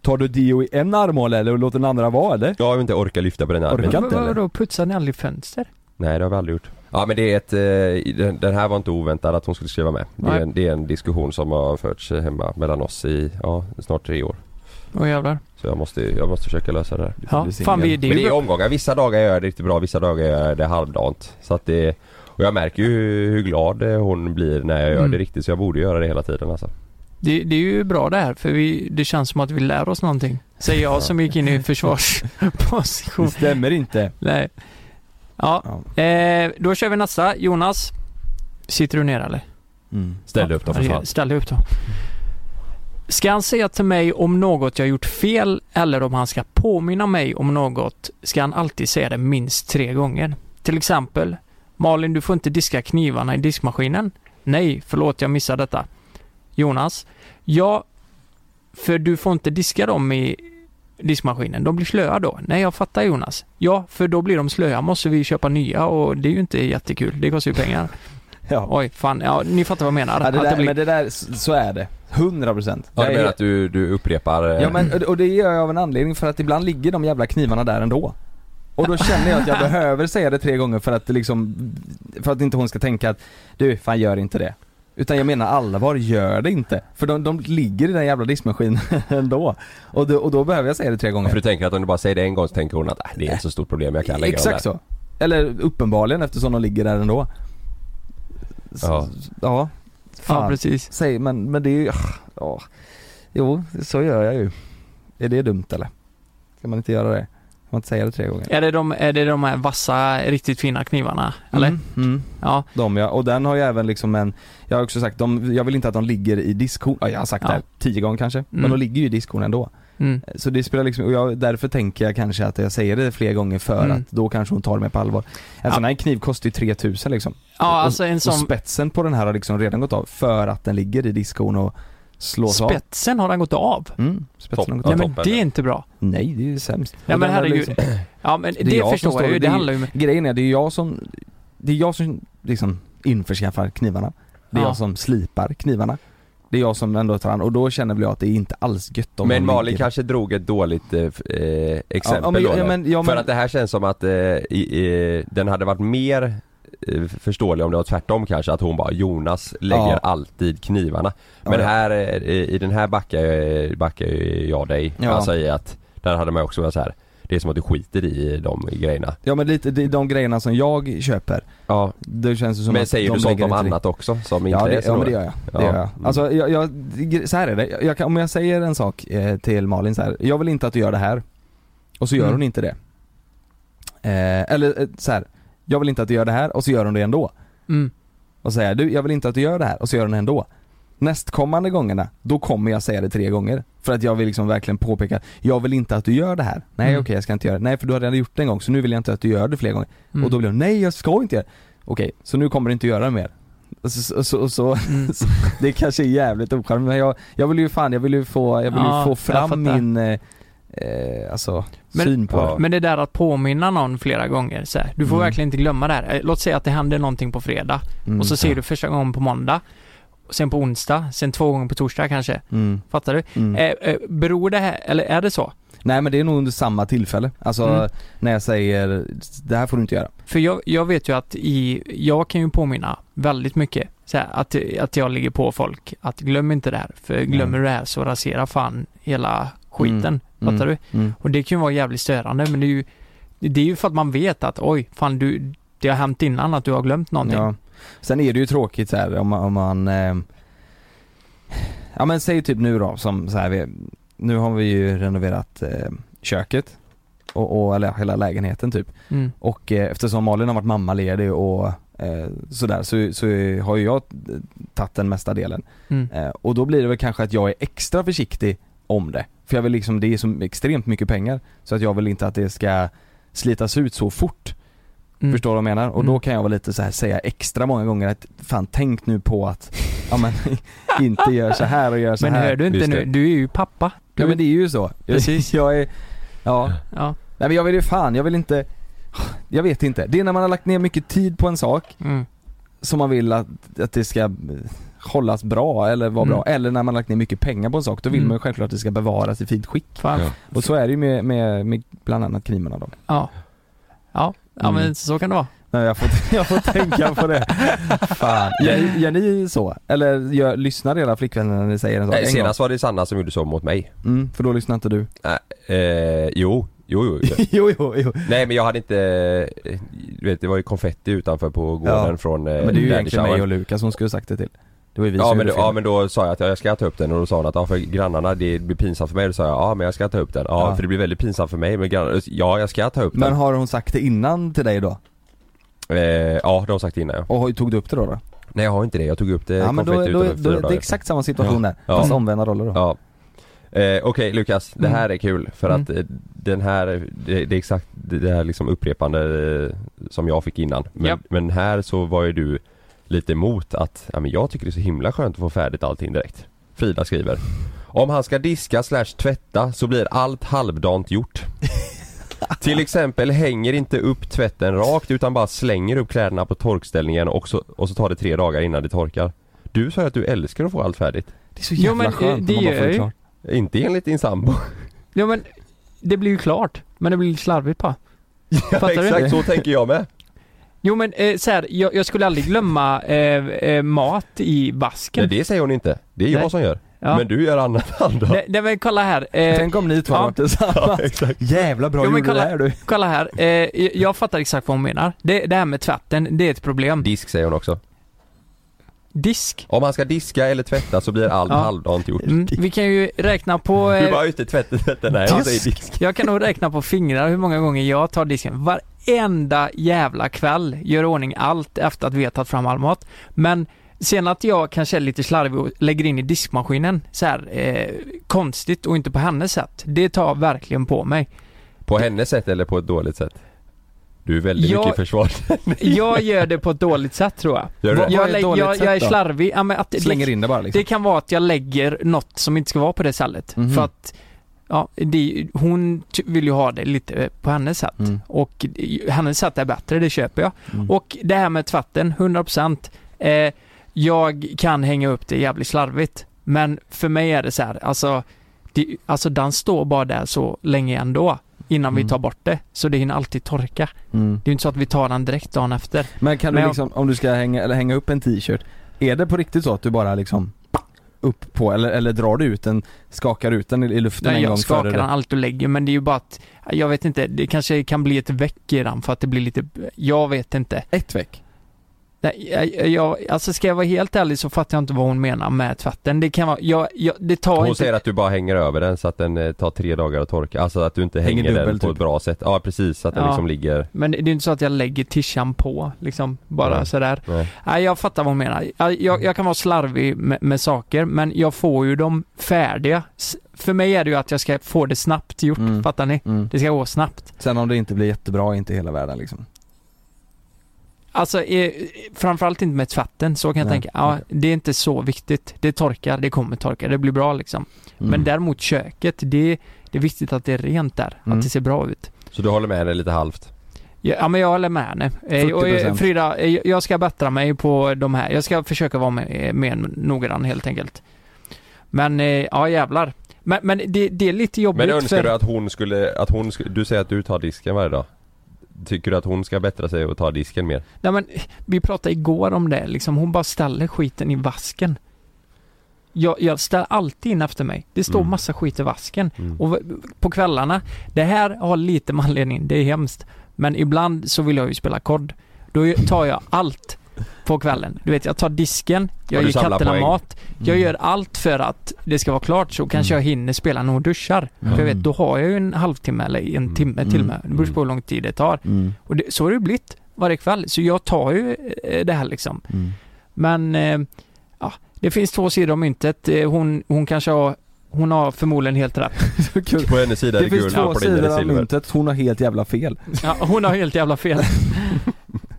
A: Tar du Dio i en armhåla eller och låter den andra vara eller?
C: Jag har inte orkat lyfta på den här.
A: Orkar
C: men-
A: inte, eller?
B: Vadå, putsar ni aldrig fönster?
C: Nej det har vi aldrig gjort. Ja men det är ett, eh, den, den här var inte oväntad att hon skulle skriva med. Det är,
B: Nej.
C: en, det är en diskussion som har förts eh, hemma mellan oss i, ja, snart tre år.
B: Åh jävlar.
C: Så jag måste, jag måste försöka lösa det där.
A: Du får
B: Ja,
A: bli singel.
B: fan vi, det är
C: Men
B: ju
C: det är
B: bra.
C: omgångar, vissa dagar gör jag det riktigt bra, vissa dagar gör jag det halvdant. Så att det, och jag märker ju hur, hur glad eh, hon blir när jag gör
B: Mm.
C: det riktigt så jag borde göra det hela tiden alltså.
B: Det, det är ju bra det här, för vi, det känns som att vi lär oss någonting. Säger jag som gick in i
A: *laughs*
B: försvarsposition.
A: Det stämmer inte.
B: Nej. Ja,
A: Ja.
B: eh, då kör vi nästa. Jonas, sitter du ner eller?
A: Mm.
C: Ställ upp dem för
B: Ja,
C: fan.
B: Ställ dig upp då. Ska han säga till mig om något jag gjort fel eller om han ska påminna mig om något ska han alltid säga det minst tre gånger. Till exempel Malin, du får inte diska knivarna i diskmaskinen. Nej, förlåt jag missade detta. Jonas, ja, för du får inte diska dem i diskmaskinen. De blir slöa då. Nej, jag fattar Jonas. Ja, för då blir de slöa. Måste vi köpa nya och det är ju inte jättekul. Det kostar ju pengar.
A: Ja.
B: Oj, fan. Ja, ni fattar vad jag menar.
A: Ja, det
B: Att
A: där,
B: det blir-
A: Men det där, s- så är det. 100% procent.
C: Ja, du menar att du, du upprepar? eh,
A: Ja men, och- och det gör jag av en anledning för att ibland ligger de jävla knivarna där ändå. Och då känner jag att
C: *laughs*
A: jag behöver säga det tre gånger för att det liksom, för att inte hon ska tänka att du, fan gör inte det. Utan jag menar allvar, gör det inte. För de, de ligger i den jävla diskmaskinen *laughs* ändå. Och då, och då behöver jag säga det tre
C: För
A: gånger.
C: du tänker att om du bara säger det en gång så tänker hon att "Ah, det är inte så stort problem, jag kan lägga
A: Exakt
C: dem
A: så. Eller uppenbarligen eftersom de ligger där ändå. Så,
C: Ja.
A: ja. ja.
B: Ja,
A: Fan.
B: precis.
A: Säg, men, men det är ju, ah, ja. Jo, så gör jag ju. Är det dumt eller? Ska man inte göra det? Ska man inte säga det tre gånger?
B: Är det, de, är det de här vassa, riktigt fina knivarna? Eller?
A: Mm, mm.
B: Ja.
A: De ja, och den har ju även liksom en, jag har också sagt, de, jag vill inte att de ligger i diskhon, ja, jag har sagt
B: Ja.
A: det här tio gånger kanske, men
B: Mm.
A: de ligger ju i diskhon ändå.
B: Mm.
A: Så det spelar liksom, och jag, därför tänker jag kanske att jag säger det fler gånger för
B: Mm.
A: att då kanske hon tar det mer på allvar. En
B: Ja.
A: sån här kniv kostar ju 3000 liksom.
B: Ja, alltså en
A: Och
B: sån...
A: spetsen på den här har liksom redan gått av för att den ligger i diskhon och Slås av.
B: Spetsen har den gått av.
A: Mm, spetsen har gått
C: Ja,
B: Nej
A: av.
B: men
C: toppen.
B: det är inte bra.
A: Nej, det är ju sämst.
B: Ja,
A: Och
B: men
A: den är
B: herregud.
A: liksom-
B: Ja men det,
A: är jag som
B: förstår
A: står-
B: jag ju,
A: det
B: det
A: är-
B: handlar ju om...
A: Grejen är, det är jag som, det är jag som liksom införskaffar knivarna. Det är
B: Ja.
A: jag som slipar knivarna. Det är jag som ändå tar hand och då känner väl jag att det är inte alls gött om
C: Men
A: de
C: Malin
A: ligger-
C: kanske drog ett dåligt eh, f- eh, exempel
A: Ja, men-
C: då
A: ja,
C: eller?
A: men- ja,
C: För
A: men-
C: att det här känns som att eh, i, eh, den hade varit mer eh, förståelig om det var tvärtom kanske att hon bara Jonas lägger
A: Ja.
C: alltid knivarna
A: Ja,
C: Men
A: ja.
C: här, eh, i den här backar, jag- eh, backar ju jag dig
A: Ja.
C: Alltså i att där hade man ju också varit så här. Det är som att du skiter i de grejerna
A: Ja men lite, det är de grejerna som jag köper.
C: Ja
A: Det känns ju som
C: Men
A: att
C: säger
A: de
C: du sånt
A: ligger
C: om
A: inte riktigt-
C: annat också som inte
A: Ja,
C: är
A: det,
C: så
A: ja men det
C: dåligt?
A: gör jag. Det
C: Ja.
A: gör jag.
B: Mm.
A: Alltså jag, jag, så här är det. Jag kan, om jag säger en sak eh, till Malin så här. jag vill inte att du gör det här. Och så gör
B: Mm.
A: hon inte det. Eh, eller eh, så här. jag vill inte att du gör det här och så gör hon det ändå.
B: Mm.
A: Och säger jag, du, jag vill inte att du gör det här och så gör hon det ändå. Nästkommande gångerna, då kommer jag säga det tre gånger. För att jag vill liksom verkligen påpeka, jag vill inte att du gör det här. Nej
B: Mm.
A: okej jag ska inte göra det. Nej för du har redan gjort det en gång så nu vill jag inte att du gör det fler gånger.
B: Mm.
A: Och då blir hon, nej jag ska inte göra det. Okej, så nu kommer du inte göra det mer. Så, så, så, så *laughs*
B: Mm.
A: det kanske är jävligt ocharmigt men jag, jag vill ju fan, jag vill ju få, jag vill
B: Ja,
A: ju få
B: jag fattar.
A: fram min, eh, eh, alltså,
B: Men-
A: syn på
C: Ja.
A: det.
B: Men det där att påminna någon flera gånger så här, du får
A: Mm.
B: verkligen inte glömma det här. Eh, Låt säga att det händer någonting på fredag
A: Mm.
B: och så ser du första gången på måndag, och sen på onsdag, sen två gånger på torsdag kanske.
A: Mm,
B: Fattar du?
A: mm.
B: Eh, eh, beror det här, eller är det så?
A: Nej men det är nog under samma tillfälle, alltså
B: Mm.
A: när jag säger det här får du inte göra.
B: För jag, jag vet ju att i, jag kan ju påminna väldigt mycket så här, att, att jag ligger på folk att glöm inte det här, för glömmer
A: Mm.
B: du det här så raserar fan hela skiten.
A: Mm.
B: Fattar du?
A: Mm.
B: Och det kan ju vara jävligt störande men det är ju, det är ju för att man vet att oj, fan du, det har hänt innan att du har glömt någonting.
A: Ja. Sen är det ju tråkigt så här om man, om man eh, ja men säg typ nu då som så här, vi, nu har vi ju renoverat eh, köket och, och eller hela lägenheten typ.
B: Mm.
A: Och eh, eftersom Malin har varit mammaledig och eh, sådär så, så har ju jag eh, tagit den mesta delen.
B: Mm.
A: Eh, och då blir det väl kanske att jag är extra försiktig om det. För jag vill liksom, det är så extremt mycket pengar så att jag vill inte att det ska slitas ut så fort.
B: Mm.
A: Förstår du vad jag menar? Och
B: Mm.
A: då kan jag vara lite så här säga extra många gånger att fan tänk nu på att, ja men *laughs* inte gör så här och gör så
B: Men
A: här.
B: hör du inte
C: Just
B: nu,
C: det.
B: du är ju pappa. Du,
A: Ja men det är ju så.
B: Precis.
A: Jag är, ja.
B: ja.
A: Nej men jag vill ju fan, jag vill inte, jag vet inte. Det är när man har lagt ner mycket tid på en sak
B: Mm.
A: som man vill att, att det ska hållas bra eller vara
B: Mm.
A: bra. Eller när man har lagt ner mycket pengar på en sak, då vill
B: Mm.
A: man ju självklart att det ska bevaras i fint skick.
B: Fan.
C: Ja.
A: Och så är det ju med, med, med bland annat knivarna då.
B: Ja. Ja, ja
A: Mm.
B: men så kan det vara.
A: Nej, jag, får, *laughs* jag får tänka på det. Fan. Gör, gör ni så? Eller gör, lyssnar era flickvänner när ni säger en sak?
C: Nej,
A: en
C: senast var det Sanna som gjorde så mot mig
A: gång? Mm, för då lyssnar inte du.
C: eh, Jo, jo, jo, jo.
A: *laughs* jo, jo, jo.
C: Nej men jag hade inte, eh, du vet det var ju konfetti utanför på gården
A: Ja.
C: från
A: Men
C: eh,
A: det är ju
C: Daddy
A: egentligen
C: Shower.
A: mig och Lukas som skulle sagt det till. Det var ju vi
C: Ja
A: som
C: men,
A: gjorde
C: då, ja
A: fel.
C: men då sa jag att ja, jag ska ta upp den och då sa hon att ja, för grannarna det blir pinsamt för mig. Då sa jag ja men jag ska ta upp den. Ja,
A: Ja.
C: för det blir väldigt pinsamt för mig men grannarna, ja jag ska ta upp
A: men har hon sagt det innan till dig då?
C: den. Eh, ja det har hon sagt innan ja.
A: Och har- tog du upp det då? då?
C: Nej jag har inte det, jag tog upp det
A: Ja men då, då,
C: konfetti
A: då,
C: utanför fyra
A: det är
C: dagar.
A: exakt samma situation där,
C: Ja.
A: fast
C: Mm.
A: omvända roller då.
C: Ja. Eh, Okej Lukas, det här är kul för
B: Mm.
C: att eh, den här, det, det är exakt det här liksom upprepande eh, som jag fick innan. Men,
B: Japp.
C: men här så var ju du lite emot att, ja men jag tycker det är så himla skönt att få färdigt allting direkt. Frida skriver. Om han ska diska slash tvätta så blir allt
B: *laughs*
C: halvdant gjort. Till exempel hänger inte upp tvätten rakt utan bara slänger upp kläderna på torkställningen och så, och så tar det tre dagar innan det torkar. Du sa ju att du älskar att få allt färdigt.
A: Det är så
B: Jo,
A: jävla
B: men, eh,
A: skönt när
B: det
A: man bara får
B: gör
A: det
B: ju-
A: klart.
C: Inte enligt din sambo.
B: Ja men, det blir ju klart. Men det blir lite
A: *laughs*
B: slarvigt bara.
C: Ja,
B: Fattar du?
C: exakt så tänker jag med.
B: Jo men eh, så här, jag, jag skulle aldrig glömma eh, eh, mat i
C: Nej
B: vasken.
C: det säger hon inte. Det är jag
B: Nej.
C: som gör.
B: Ja.
C: Men du gör annat *laughs* andra.
B: Nej, nej men kolla här. Eh,
A: Tänk om ni två
B: ja.
A: hade varit tillsammans. *laughs*
C: exakt.
A: Jävla bra
B: Jo, men
A: gjorde det
B: kolla-
A: här du.
B: Kolla här, eh, jag- jag fattar exakt vad hon menar. Det, det här med tvätten, det är ett problem.
C: Disk säger hon också.
B: Disk.
C: Om han ska diska eller tvätta så blir allt
B: Ja.
C: halvdant gjort.
B: Mm, vi kan ju räkna på...
C: Du
B: Eh,
C: bara ute tvätten, tvätten, nej jag
A: Disk.
C: säger disk.
B: jag kan nog räkna på fingrar hur många gånger jag tar disken. Varenda jävla kväll gör i ordning allt efter att vi har tagit fram all mat. Men sen att jag kanske är lite slarvig och lägger in i diskmaskinen så här eh, konstigt och inte på hennes sätt. Det tar jag verkligen på mig.
C: På hennes sätt eller på ett dåligt sätt? Du är väldigt
B: Jag-
C: mycket i försvar.
B: Jag gör det på ett dåligt sätt tror jag.
C: Gör du det?
A: Vad- är
B: Jag,
A: ett
B: lä-
A: dåligt
B: jag,
A: sätt
B: jag är
A: då?
B: slarvig. Ja, men att det,
A: Slänger
B: det,
A: in det bara liksom.
B: det kan vara att jag lägger något som inte ska vara på det stället.
A: Mhm.
B: För att ja, det, hon ty- vill ju ha det lite eh, på hennes sätt.
A: Mm.
B: Och det- hennes sätt är bättre, det köper jag.
A: Mm.
B: Och det här med tvätten, 100%. Eh, jag kan hänga upp det jävligt slarvigt. Men för mig är det så här, alltså, det, alltså den står bara där så länge ändå. Innan
A: Mm.
B: vi tar bort det. Så det hinner alltid torka.
A: Mm.
B: Det är ju inte så att vi tar den direkt dagen efter.
A: Men kan
B: Men
A: du
B: jag-
A: liksom, om du ska hänga, eller hänga upp en t-shirt, är det på riktigt så att du bara liksom upp på, eller, eller drar du ut den, skakar ut den i, i luften
B: Nej,
A: en gång
B: jag skakar
A: före
B: den
A: det?
B: allt och lägger men det är ju bara att, jag vet inte, det kanske kan bli ett väck i den för att det blir lite, jag vet inte.
A: Ett veck?
B: Nej, jag, jag, alltså ska jag vara helt ärlig så fattar jag inte vad hon menar med tvätten. Det kan vara, jag, jag, det tar
C: Hon
B: inte...
C: säger att du bara hänger över den så att den eh, tar tre dagar att torka. Alltså att du inte
A: Hänger
C: hänger, den
A: dubbel,
C: på
A: typ.
C: ett bra sätt. Ja precis, så att den
B: Ja.
C: liksom ligger...
B: Men det är ju inte så att jag lägger tishan på liksom, bara
C: Nej.
B: sådär.
C: Nej.
B: Nej, jag fattar vad hon menar. Jag, jag, jag kan vara slarvig med, med saker, men jag får ju dem färdiga. S- För mig är det ju att jag ska få det snabbt gjort,
A: Mm.
B: fattar ni?
A: Mm.
B: Det ska gå snabbt.
A: Sen om det inte blir jättebra, är inte hela världen liksom.
B: Alltså eh, framförallt inte med tvätten, så kan jag
A: Nej,
B: tänka. Ja,
A: okej.
B: det är inte så viktigt. Det torkar, det kommer torka, det blir bra liksom.
A: Mm.
B: Men däremot köket, det, det är viktigt att det är rent där,
A: Mm.
B: att det ser bra ut.
C: Så du håller med henne lite halvt?
B: Ja, ja, men jag håller med henne. Eh, Och, eh,
A: 40%.
B: Frida, eh, jag ska bättra mig på de här. Jag ska försöka vara mer, mer noggrann helt enkelt. Men, eh, ja jävlar. Men, men det, det är lite jobbigt
C: Men önskar
B: för...
C: du att hon skulle, att hon skulle, du säger att du tar disken varje dag? Tycker du att hon ska bättra sig och ta disken mer?
B: Nej men, vi pratade igår om det liksom. Hon bara ställer skiten i vasken. Jag, jag ställer alltid in efter mig. Det står
C: Mm.
B: massa skit i vasken.
C: Mm.
B: Och v- på kvällarna, det här har lite med anledning, det är hemskt. Men ibland så vill jag ju spela kod. Då tar jag allt på kvällen. Du vet, jag tar disken, jag
C: Och du
B: ger
C: samlar
B: katterna
C: poäng. Mm.
B: mat. Jag gör allt för att det ska vara klart så kanske jag hinner spela när hon duschar. För jag
A: Mm.
B: vet, då har jag ju en halvtimme eller
C: Mm.
B: en timme till och med. Det beror på hur lång tid det tar.
A: Mm.
B: Och det, så har det ju blivit varje kväll. Så jag tar ju eh, det här liksom.
A: Mm.
B: Men eh, ja, det finns två sidor om myntet. Eh, Hon, hon kanske har, hon har förmodligen
A: *laughs*
B: helt rätt.
A: Så kul.
C: På hennes sida är
A: *laughs* Det
C: det guld
A: finns två
C: och på din är
A: sidor
C: det
A: av
C: silver.
A: myntet, hon har helt jävla fel.
B: Ja, hon har helt
A: *laughs*
B: jävla fel.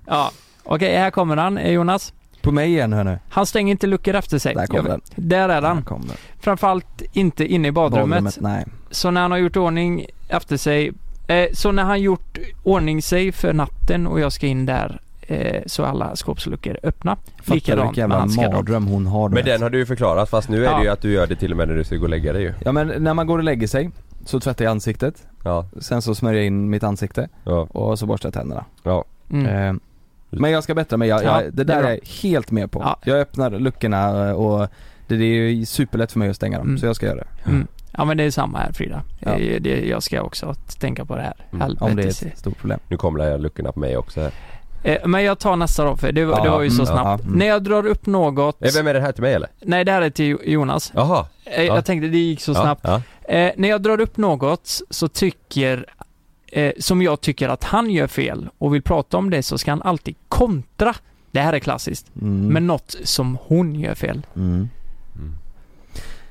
B: Ja, okej här kommer han eh, Jonas.
A: På mig igen hörni.
B: Han stänger inte luckor efter sig.
A: Där kom
B: Jag-
A: den.
B: Där är
A: Där
B: han.
A: kom den.
B: Framförallt inte inne i badrummet.
A: Badrummet, nej.
B: Så när han har gjort ordning efter sig. Eh, så när han gjort ordning sig för natten och jag ska in där eh, så är alla skåpsluckor är öppna.
A: Fattar du vilken
B: Likadant med
A: jävla
B: hans garderob.
A: mardröm hon har då.
C: Men den har du ju förklarat fast nu är
B: Ja.
C: det ju att du gör det till och med när du ska gå och lägga dig ju.
A: Ja men när man går och lägger sig, så tvättar jag ansiktet,
C: Ja,
A: sen så smörjer jag in mitt ansikte
C: ja,
A: och så borstar jag tänderna.
C: ja.
B: Mm.
A: Eh, Men jag ska bättra mig, jag, jag,
B: Ja,
A: det
B: det är
A: där
B: bra.
A: är jag helt med på.
B: Ja.
A: Jag öppnar luckorna eh, och det, det är ju superlätt för mig att stänga dem,
B: Mm.
A: så jag ska göra det.
B: Mm. Ja men det är samma här Frida.
A: Ja.
B: Eh, Det, jag ska också tänka på det här.
C: Mm.
A: Om det är
B: Helvetes.
A: ett stort problem.
C: Nu kommer det här luckorna på mig också här.
B: Eh, men jag tar nästa då för det, var-
A: Ja,
B: det var ju så
A: mm,
B: snabbt.
A: ja, mm.
B: När jag drar upp något.
C: Eh, Vem är det här till mig eller?
B: Nej det här är till Jo- Jonas.
C: Jaha!
B: Eh,
C: Ja.
B: Jag tänkte det gick så
C: ja,
B: snabbt.
C: Ja.
B: Eh, när jag drar upp något så tycker eh, som jag tycker att han gör fel och vill prata om det så ska han alltid kontra. Det här är klassiskt.
A: Mm.
B: Men något som hon gör fel.
A: Mm.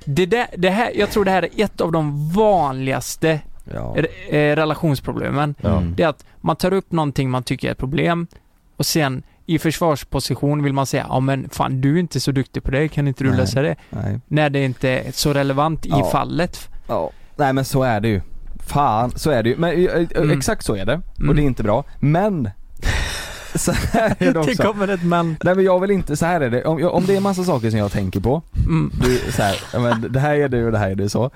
B: Det där, det här, jag tror det här är ett av de vanligaste
A: Ja.
B: re- eh, relationsproblemen.
C: Ja.
A: Mm.
B: Det är att man tar upp någonting man tycker är ett problem och sen i försvarsposition vill man säga ja men fan du är inte så duktig på det, kan inte du
A: Nej.
B: lösa det?
A: Nej.
B: När det inte är så relevant i
A: Ja.
B: fallet.
A: Ja. Nej men så är det ju. Fan, så är det ju. Men eh, eh,
B: Mm.
A: exakt så är det. Och
B: Mm.
A: det är inte bra.
B: *laughs*
A: Men! så här är *laughs* det också.
B: kommer ett men.
A: Nej men jag vill inte, så här är det. Om, jag- om det är massa saker som jag tänker på,
B: Mm.
A: du, så här, ja, men det här är du och det här är du så.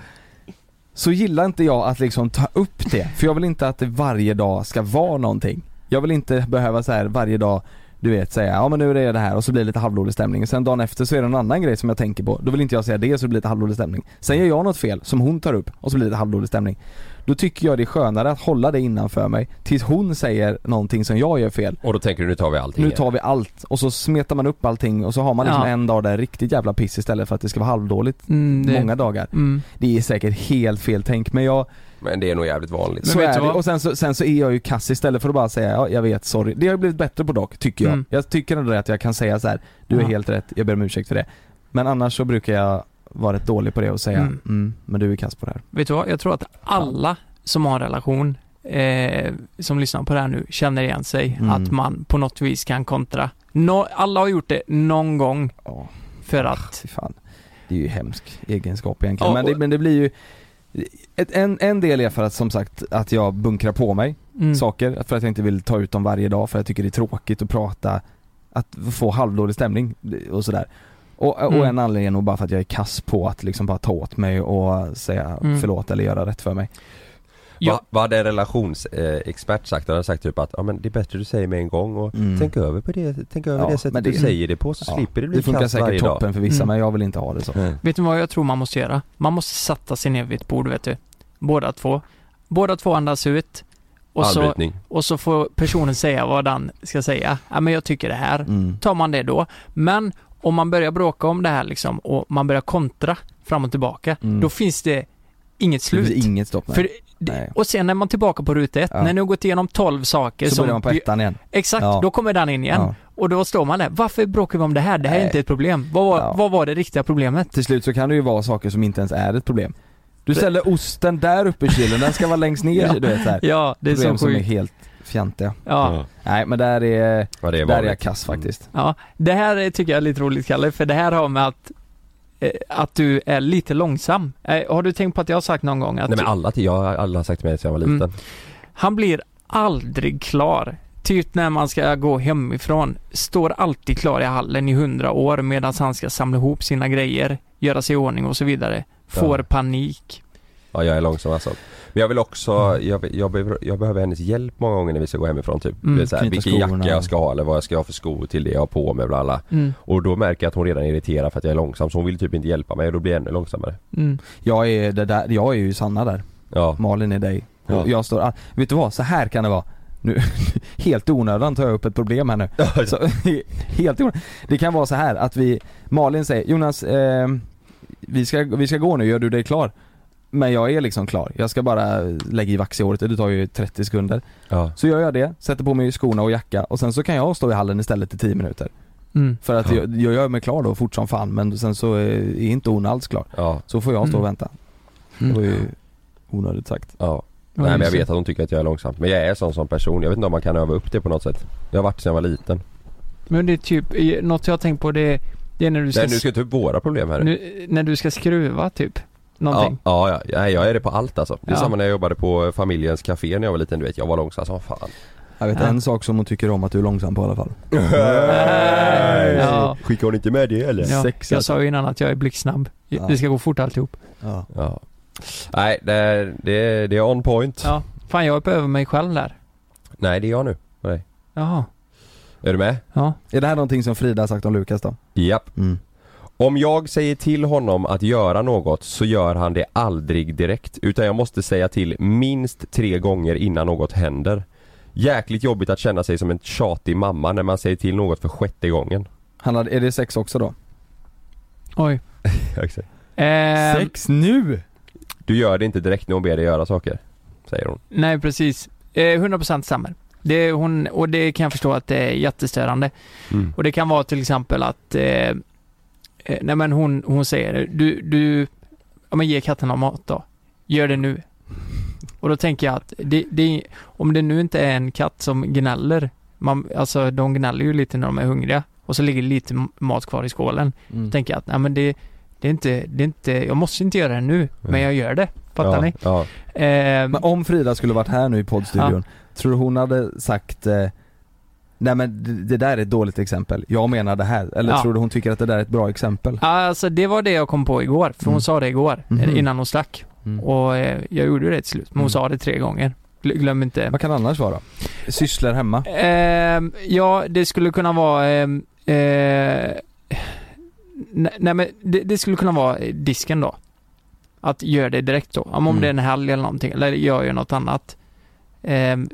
A: Så gillar inte jag att liksom ta upp det, för jag vill inte att det varje dag ska vara någonting. Jag vill inte behöva så här varje dag, du vet säga ja men nu är det det här och så blir det lite halvdålig stämning. Och sen dagen efter så är det en annan grej som jag tänker på, då vill inte jag säga det så det blir lite halvdålig stämning. Sen gör jag något fel som hon tar upp och så blir det lite halvdålig stämning. Då tycker jag det är skönare att hålla det innanför mig tills hon säger någonting som jag gör fel.
C: Och då tänker du nu tar vi allting
A: Nu
C: igen.
A: tar vi allt och så smetar man upp allting och så har man liksom
B: Ja.
A: en dag där riktigt jävla piss istället för att det ska vara halvdåligt
B: Mm, det,
A: många dagar.
B: Mm.
A: Det är säkert helt fel tänk men jag,
C: Men det är nog jävligt vanligt.
B: Men
A: så
B: vet du
A: är det.
B: vad?
A: Och sen så, sen så är jag ju kass istället för att bara säga ja, jag vet, sorry. Det har jag blivit bättre på dock, tycker jag.
B: Mm.
A: Jag tycker ändå att jag kan säga så här: du är
B: Ja.
A: helt rätt, jag ber om ursäkt för det. Men annars så brukar jag vara rätt dålig på det och säga, mm.
B: Mm.
A: men du är kass på det här.
B: Vet du vad? Jag tror att alla som har en relation eh, eh, som lyssnar på det här nu känner igen sig.
A: Mm.
B: Att man på något vis kan kontra. Nå- alla har gjort det någon gång
A: Ja.
B: för att...
A: Fy fan. Det är ju hemsk egenskap egentligen.
B: Ja,
A: men, det,
B: och-
A: men det blir ju ett, en, en del är för att som sagt att jag bunkrar på mig
B: Mm,
A: saker, för att jag inte vill ta ut dem varje dag för jag tycker det är tråkigt att prata, att få halvdålig stämning och sådär. Och, och
B: Mm.
A: en anledning är nog bara för att jag är kass på att liksom bara ta åt mig och säga
B: Mm.
A: förlåt eller göra rätt för mig.
B: Ja.
C: Vad, vad hade en relationsexpert sagt? Han hade sagt typ att ja, men det är bättre du säger med en gång och
A: Mm.
C: tänk över på det, tänk över
A: Ja,
C: det
A: men
C: sättet
A: det-
C: du säger det på så
A: Ja,
C: slipper det bli
A: Det funkar
C: kast varje
A: säkert toppen
C: dag.
A: för vissa
B: Mm.
A: men jag vill inte ha det så.
C: Mm.
B: Vet du vad jag tror man måste göra? Man måste sätta sig ner vid ett bord, vet du. Båda två. Båda två andas ut. Och så,
C: Armbrytning.
B: och så får personen säga vad den ska säga. Ja, men jag tycker det här.
A: Mm.
B: tar man det då. Men om man börjar bråka om det här liksom och man börjar kontra fram och tillbaka,
A: Mm.
B: då finns det inget
A: Det
B: slut.
A: blir inget stopp nej.
B: För det-
A: Nej.
B: och sen när man är tillbaka på ruta ett,
A: Ja.
B: när ni har gått igenom 12 saker
A: Så
B: som...
A: börjar man på ettan igen.
B: Exakt,
A: Ja.
B: då kommer den in igen.
A: Ja.
B: Och då står man där. Varför bråkar vi om det här? Det här är
A: Nej.
B: inte ett problem. Vad var,
A: Ja.
B: vad var det riktiga problemet?
A: Till slut så kan det ju vara saker som inte ens är ett problem. Du ställer osten där uppe i kylen, den ska vara längst ner
B: *laughs* Ja.
A: du vet så här.
B: Ja, det är
A: Problem
B: så
A: som är
B: sjukt.
A: helt fjantiga.
B: Ja.
A: Nej men där är,
C: Ja,
A: där är
C: det är
A: jag
C: vanligt. Mm.
A: kass faktiskt.
B: ja. Det här är- tycker jag är lite roligt, Kalle, för det här har med att, eh, att du är lite långsam. Eh, Har du tänkt på att jag har sagt någon gång att
C: Nej men alla, till- jag, alla har sagt till mig sedan jag var liten.
B: Mm. Han blir aldrig klar. Typ när man ska gå hemifrån. Står alltid klar i hallen i hundra år medan han ska samla ihop sina grejer, göra sig i ordning och så vidare. Får
C: Ja.
B: panik.
C: Ja jag är långsam alltså. Men jag vill också, jag, jag, behöver, jag behöver hennes hjälp många gånger när vi ska gå hemifrån typ.
B: Mm,
C: Mm, så här,
A: knyta
C: vilken
A: skorna.
C: jacka jag ska ha eller vad jag ska ha för skor till det jag har på mig bla bla.
B: Mm,
C: Och då märker jag att hon redan är irriterad för att jag är långsam så hon vill typ inte hjälpa mig och då blir jag ännu långsammare.
B: mm.
A: Jag är, det där, jag är ju Sanna där,
C: Ja. *laughs*
A: Malin är dig. Och
C: Ja.
A: Jag står, all- vet du vad, så här kan det vara. Nu, *laughs* helt onödan tar jag upp ett problem här nu. Så, *laughs* helt onödan. Det kan vara så här att vi, Malin säger Jonas, eh, vi, ska, vi ska gå nu, gör du dig klar? Men jag är liksom klar, jag ska bara lägga i vax i håret, det tar ju 30 sekunder.
C: ja.
A: Så gör jag det, sätter på mig skorna och jacka och sen så kan jag stå i hallen istället i 10 minuter.
B: Mm.
A: För att
C: Ja.
A: jag, jag gör mig klar då fort som fan men sen så eh, är inte hon alls klar.
C: Ja.
A: Så får jag stå och
B: Mm.
A: vänta. Det var ju onödigt sagt.
C: ja.
B: Ja,
C: Nej men jag
B: just det.
C: vet att hon tycker att jag är långsam. Men jag är sån som person. Jag vet inte om man kan öva upp det på något sätt. Jag har varit sedan jag var liten.
B: Men det är typ, eh, något jag har tänkt på det är, det är när du ska,
C: Nej nu ska jag ta upp våra problem här.
B: nu, när du ska skruva typ.
C: Ja,
B: Någonting.
C: ja, ja, Nej, jag är det på allt alltså. Det är
B: Ja.
C: samma när jag jobbade på eh, familjens café när jag var liten, du vet jag var långsam som fan.
A: Jag vet
B: Ja.
A: en sak som hon tycker om att du är långsam på i alla fall.
B: Nej. *laughs* Ja.
C: Skickar hon inte med det eller?
B: Ja,
A: sex,
B: jag
A: alltså.
B: sa ju innan att jag är blixtsnabb.
A: Ja.
B: Det ska gå fort alltihop.
A: Ja.
C: Ja. Nej, det är, det, är, det är on point.
B: Ja. Fan, jag är på över mig själv där.
C: Nej, det är jag nu. Nej.
B: Jaha.
C: Är du med?
B: Ja.
A: Är det här någonting som Frida har sagt om Lukas då?
C: Japp.
A: Mm.
C: Om jag säger till honom att göra något så gör han det aldrig direkt. Utan jag måste säga till minst tre gånger innan något händer. Jäkligt jobbigt att känna sig som en tjatig mamma när man säger till något för sjätte gången. *laughs*
A: Han hade, är det sex också då?
B: Oj. Eh,
A: nu?
C: Du gör det inte direkt när hon ber dig göra saker. Säger hon.
B: Nej, precis. Eh, 100% stämmer. Det är hon, och det kan jag förstå att det är jättestörande.
C: Mm.
B: Och det kan vara till exempel att, eh, eh, nej men hon, hon säger, du, du, ja men ge katterna mat då. Gör det nu. Och då tänker jag att, det, det, om det nu inte är en katt som gnäller, man, alltså de gnäller ju lite när de är hungriga. Och så ligger lite mat kvar i skålen.
A: Mm.
B: Då tänker jag att, nej men det, det är inte, det är inte, jag måste inte göra det nu, men jag gör det. Fattar
C: ja,
B: ni?
C: Ja.
B: Eh,
A: Men om Frida skulle varit här nu i poddstudion, tror du hon hade sagt eh, Nej men det- det där är ett dåligt exempel, jag menar det här. Eller
B: Ja.
A: tror du hon tycker att det där är ett bra exempel?
B: Alltså det var det jag kom på igår, för hon
A: Mm.
B: sa det igår
A: Mhm.
B: innan hon stack. Och eh, jag gjorde det till slut, men hon
A: Mm.
B: sa det tre gånger. Gl- Glöm inte.
A: Vad kan det annars vara? Sysslor hemma?
B: Ehm, ja, det skulle kunna vara... ehm, eh, nej, nej men det, det skulle kunna vara eh, disken då. Att göra det direkt då. Om,
A: Mm.
B: om det är en helg eller någonting, eller jag gör något annat. Ehm,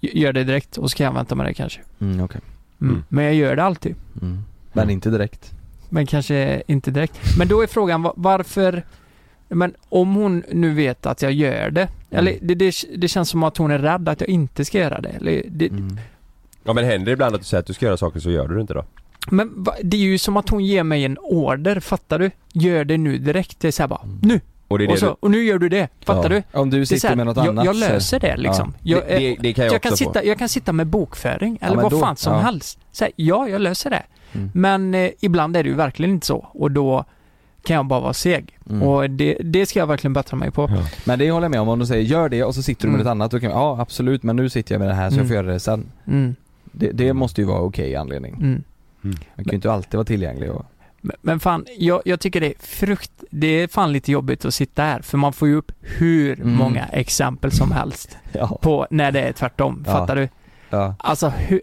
B: gör det direkt och så kan jag vänta med det kanske.
A: Mm, okej.
B: Mm.
C: Mm.
B: Men jag gör det alltid.
A: Mm. Men inte direkt.
B: Men kanske inte direkt. Men då är frågan va- varför... Men om hon nu vet att jag gör det. Eller det, det, det känns som att hon är rädd att jag inte ska göra det. Eller det
A: Mm.
C: ja men händer det ibland att du säger att du ska göra saker så gör du det inte då?
B: Men va, det är ju som att hon ger mig en order, fattar du? Gör det nu direkt. Det är så här bara, nu!
C: Och det är det
B: och, så,
C: du-
B: och nu gör du det, fattar
C: Ja.
B: du?
A: Om du
B: Det är så
A: sitter
B: här,
A: med något
B: jag,
A: annat
B: Jag
A: så-
B: löser det liksom. Jag,
C: det, det, det kan jag,
B: jag,
C: också
B: kan
C: få.
B: sitta, jag kan sitta med bokföring eller
A: men
B: vad
A: då-
B: fan som
A: ja.
B: helst. Så här, ja, jag löser det.
A: Mm.
B: Men eh, ibland är det ju verkligen inte så och då kan jag bara vara seg.
A: Mm.
B: Och det, det ska jag verkligen bättra mig på.
A: Men det håller jag med om, om du säger gör det och så sitter du med
B: Mm.
A: ett annat, då kan jag, ja absolut men nu sitter jag med det här så jag får
B: Mm.
A: göra det sen.
B: Mm,
A: Det, det måste ju vara okej anledning.
B: mm.
A: Man kan ju inte alltid vara tillgänglig och...
B: Men- Men fan, jag, jag tycker det är frukt, det är fan lite jobbigt att sitta här för man får ju upp hur
A: Mm.
B: många exempel som helst
A: Ja.
B: på när det är tvärtom,
A: Ja.
B: fattar du?
A: ja.
B: Alltså hur,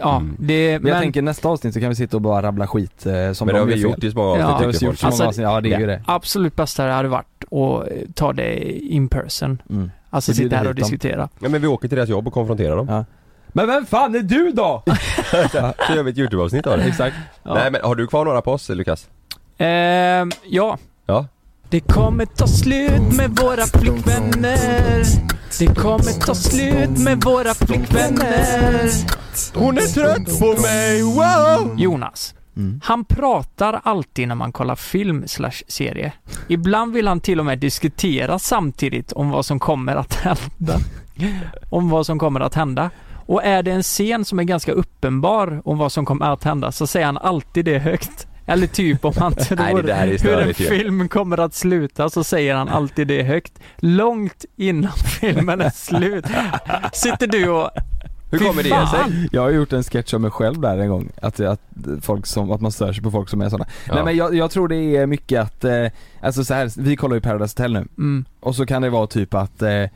B: ja,
C: Mm.
B: det,
A: Men jag
B: men
A: tänker nästa avsnitt så kan vi sitta och bara rabbla skit eh, som
C: Men
A: de
C: det har vi
A: gör fel.
C: gjort i så många avsnitt
B: Ja.
A: Det har
C: tycker
A: vi gjort
C: folk.
A: så många
B: Alltså,
A: avsnitt, ja det är ju det.
B: absolut bästa det hade varit att eh, ta det in person,
A: Mm.
B: alltså
A: Vi bjuder
B: sitta här och
A: hit dem.
B: diskutera.
C: Ja, men vi åker till deras jobb och konfronterar dem.
A: Men vem fan är du då?
C: *laughs* Så gör vi ett YouTube-avsnitt av det. Exakt.
B: Ja.
C: Nej men har du kvar några på oss Lukas?
B: Ehm, ja.
C: Ja.
B: Det kommer ta slut med våra flickvänner. Det kommer ta slut med våra flickvänner.
C: Hon är trött på mig, wow!
B: Jonas.
A: Mm.
B: Han pratar alltid när man kollar film slash serie. Ibland vill han till och med diskutera samtidigt om vad som kommer att hända. Om vad som kommer att hända. Och är det en scen som är ganska uppenbar om vad som kommer att hända så säger han alltid det högt. Eller typ om han tror
C: *laughs* Nej, det där är
B: hur en
C: störigt ju.
B: film kommer att sluta så säger han alltid det högt. Långt innan *laughs* filmen är slut. Sitter du och...
C: Hur
B: Fy
C: kommer det
B: fan!
C: sig?
A: Jag har gjort en sketch om mig själv där en gång, att, att, folk som, att man stör sig på folk som är sådana.
C: Ja.
A: Nej men jag, jag tror det är mycket att, eh, alltså så här, vi kollar ju Paradise Hotel nu
B: Mm,
A: och så kan det vara typ att eh, eh,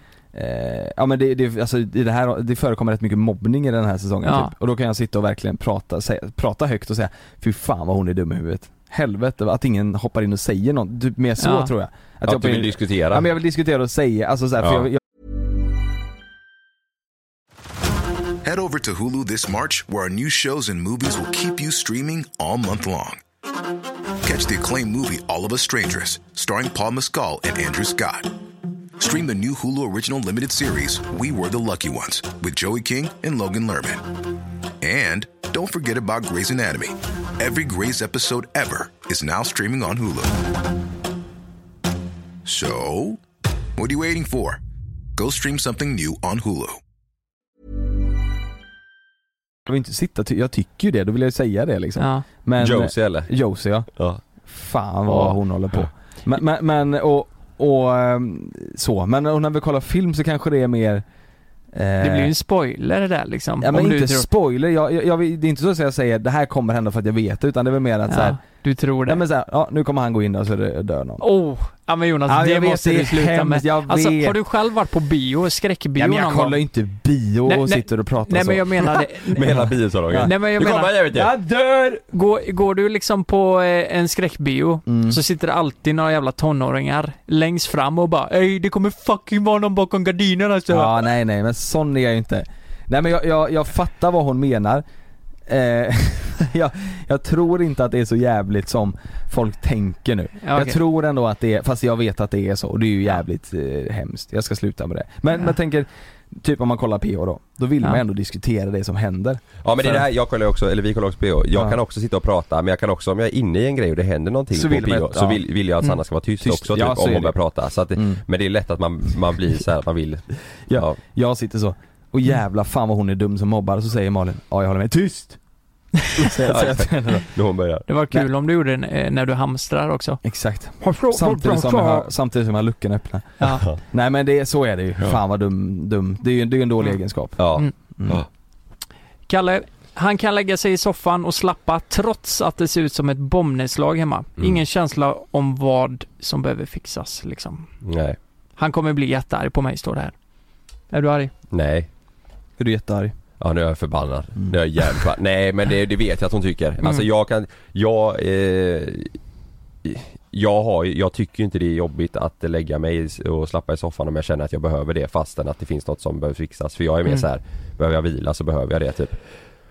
A: Ja men det, det, alltså, i det, här, det förekommer rätt mycket mobbning i den här säsongen
B: Ja.
A: typ. Och då kan jag sitta och verkligen prata, sä- prata högt och säga Fy fan vad hon är dum i huvudet Helvete att ingen hoppar in och säger något, typ mer så
B: Ja.
A: tror jag
C: Att,
A: jag
C: du vill
A: hoppar in-
C: diskutera?
A: Ja men jag vill diskutera och säga, alltså så här, för
C: Ja.
A: jag, jag
E: Head over to Hulu this March, where our new shows and movies will keep you streaming all month long. Catch the acclaimed movie All of Us Strangers, starring Paul Mescal and Andrew Scott. Stream the new Hulu original limited series We Were the Lucky Ones with Joey King and Logan Lerman. And don't forget about Grey's Anatomy. Every Grey's episode ever is now streaming on Hulu. So, what are you waiting for? Go stream something new on Hulu.
A: vill inte sitta, ty- jag tycker ju det, då vill jag ju säga det liksom
B: ja.
A: men,
C: Josie eller?
A: Josie ja,
C: Ja.
A: fan vad
C: Ja.
A: hon håller på Men, men, men och, och ehm, så, men när vi kollar film så kanske det är mer eh,
B: Det blir ju en spoiler det där liksom.
A: Ja men
B: om du
A: inte
B: tror-
A: spoiler, jag, jag, jag, vill- det är inte så att jag säger det här kommer hända för att jag vet det, utan det är väl mer att så här,
B: ja, du tror det.
A: nej men så här, ja nu kommer han gå in där så det dör någon.
B: Oh, ja men Jonas,
A: Ja,
B: det
A: jag vet,
B: måste
A: det
B: du
A: är
B: sluta
A: hemskt,
B: med.
A: jag
B: Alltså,
A: vet.
B: har du själv varit på bio, skräckbio
A: ja, men jag
B: någon
A: kollar
B: gång?
A: ju inte bio
B: Nej,
A: och
B: nej.
A: sitter och pratar
B: Nej
A: så.
B: men jag menar
A: *laughs*
B: det.
C: Med hela biosalongen?
B: Nej men jag
C: nu kommer
B: menar,
C: han jävligt ju!
A: Jag dör!
B: går, går du liksom på eh, en skräckbio
A: Mm.
B: så sitter det alltid några jävla tonåringar längst fram och bara Ey det kommer fucking vara någon bakom alltså." gardinerna så.
A: Ja nej nej men sån är jag ju inte. Nej men jag, jag, jag fattar vad hon menar. Eh, *laughs* jag, jag tror inte att det är så jävligt som folk tänker nu.
B: Ja,
A: Jag
B: okej.
A: tror ändå att det är, fast jag vet att det är så och det är ju jävligt eh, hemskt. Jag ska sluta med det. Men
B: Ja.
A: jag tänker, typ om man kollar PH då, då vill
B: Ja.
A: man ändå diskutera det som händer.
C: Ja men det
A: För-
C: där, jag kollar ju också, eller vi kollar också på bio. Jag
A: Ja.
C: kan också sitta och prata men jag kan också, om jag är inne i en grej och det händer någonting
A: Så
C: på
A: vill man-
C: bio så
A: ja. Mm.
C: vill, vill jag att Sanna ska vara tyst,
A: Tyst,
C: också typ,
A: ja, så
C: om
A: är
C: hon
A: det.
C: börjar prata. Så att, det-
A: Mm.
C: Men det är lätt att man, man blir så här att man vill
A: Ja. Jag sitter så, och
B: Mm.
A: jävla fan vad hon är dum som mobbar, och så säger Malin, ja jag håller med,
B: *laughs*
A: tyst! *laughs* Säger- säger jag till henne då.
C: när hon börjar.
B: Det var kul om du gjorde det eh, när du hamstrar också.
A: *laughs* Exakt. Samtidigt som jag har, samtidigt som jag har luckan öppna.
B: Ja.
A: Nej men det, så är det ju.
C: Ja.
A: Fan vad dum, dum. Det är ju det är ju en dålig
B: Mm.
A: egenskap.
C: Ja.
B: Mm.
A: Mm.
C: Ja.
B: Kalle, han kan lägga sig i soffan och slappa trots att det ser ut som ett bombnedslag hemma.
C: Mm.
B: Ingen känsla om vad som behöver fixas liksom.
C: Nej.
B: Han kommer bli jättearg på mig står det här. Är du arg?
C: Nej.
A: Är du jättearg?
C: Ja nu är jag förbannad. Nu är jag jävligt förbannad. Nej men det, det vet jag att hon tycker. Alltså jag kan, jag, eh, jag har ju- jag tycker ju inte det är jobbigt att lägga mig i- och slappa i soffan om jag känner att jag behöver det fastän att det finns något som behöver fixas. För jag är mer
B: Mm.
C: så här, behöver jag vila så behöver jag det typ.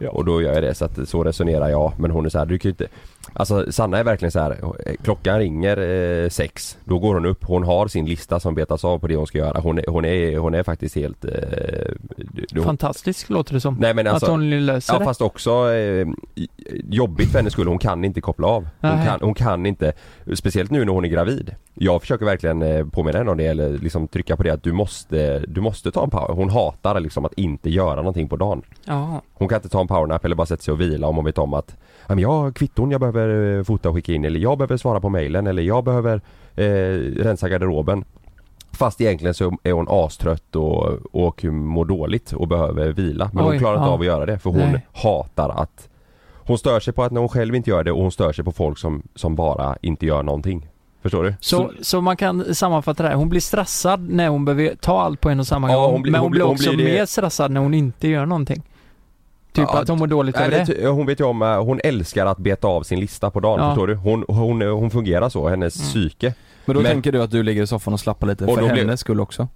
C: Och då gör jag det så att så resonerar jag men hon är så här, du kan ju inte Alltså Sanna är verkligen så här. eh, klockan ringer eh, sex, då går hon upp, hon har sin lista som betas av på det hon ska göra. Hon är, hon är, hon är faktiskt helt... Eh, d- d- hon,
B: Fantastiskt låter det som.
C: nej men alltså,
B: att hon löser
C: ja,
B: det.
C: fast också eh, i- jobbigt för hennes skull, hon kan inte koppla av. Hon
B: Nej.
C: kan, hon kan inte, speciellt nu när hon är gravid. Jag försöker verkligen eh, påminna henne om det eller liksom trycka på det att du måste, du måste ta en power. Hon hatar liksom att inte göra någonting på dagen.
B: Ja.
C: Hon kan inte ta en powernap eller bara sätta sig och vila om hon vet om att "Ja, men jag har kvitton jag behöver eh, fota och skicka in eller jag behöver svara på mailen eller jag behöver eh, rensa garderoben. Fast egentligen så är hon astrött och, och mår dåligt och behöver vila. Men hon
B: Oj,
C: klarar inte
B: ja.
C: av att göra det för hon
B: Nej.
C: hatar att Hon stör sig på att när hon själv inte gör det och hon stör sig på folk som, som bara inte gör någonting. Förstår du?
B: Så, så man kan sammanfatta det här. Hon blir stressad när hon behöver ta allt på en och samma
C: Ja,
B: gång.
C: hon blir-
B: men
C: hon
B: hon,
C: blir-
B: blir
C: hon
B: också
C: blir det-
B: mer stressad när hon inte gör någonting. Typ
C: Ja,
B: att hon mår dåligt
C: Nej,
B: över
C: men typ-
B: det.
C: det, hon vet ju om, eh, hon älskar att beta av sin lista på dagen,
B: Ja. Mm.
C: förstår du? Hon, hon, hon fungerar så, hennes psyke.
A: Men då
C: Men-
A: tänker du att du ligger i soffan och slappar lite
C: Och
A: för
C: då blir-
A: hennes skull också?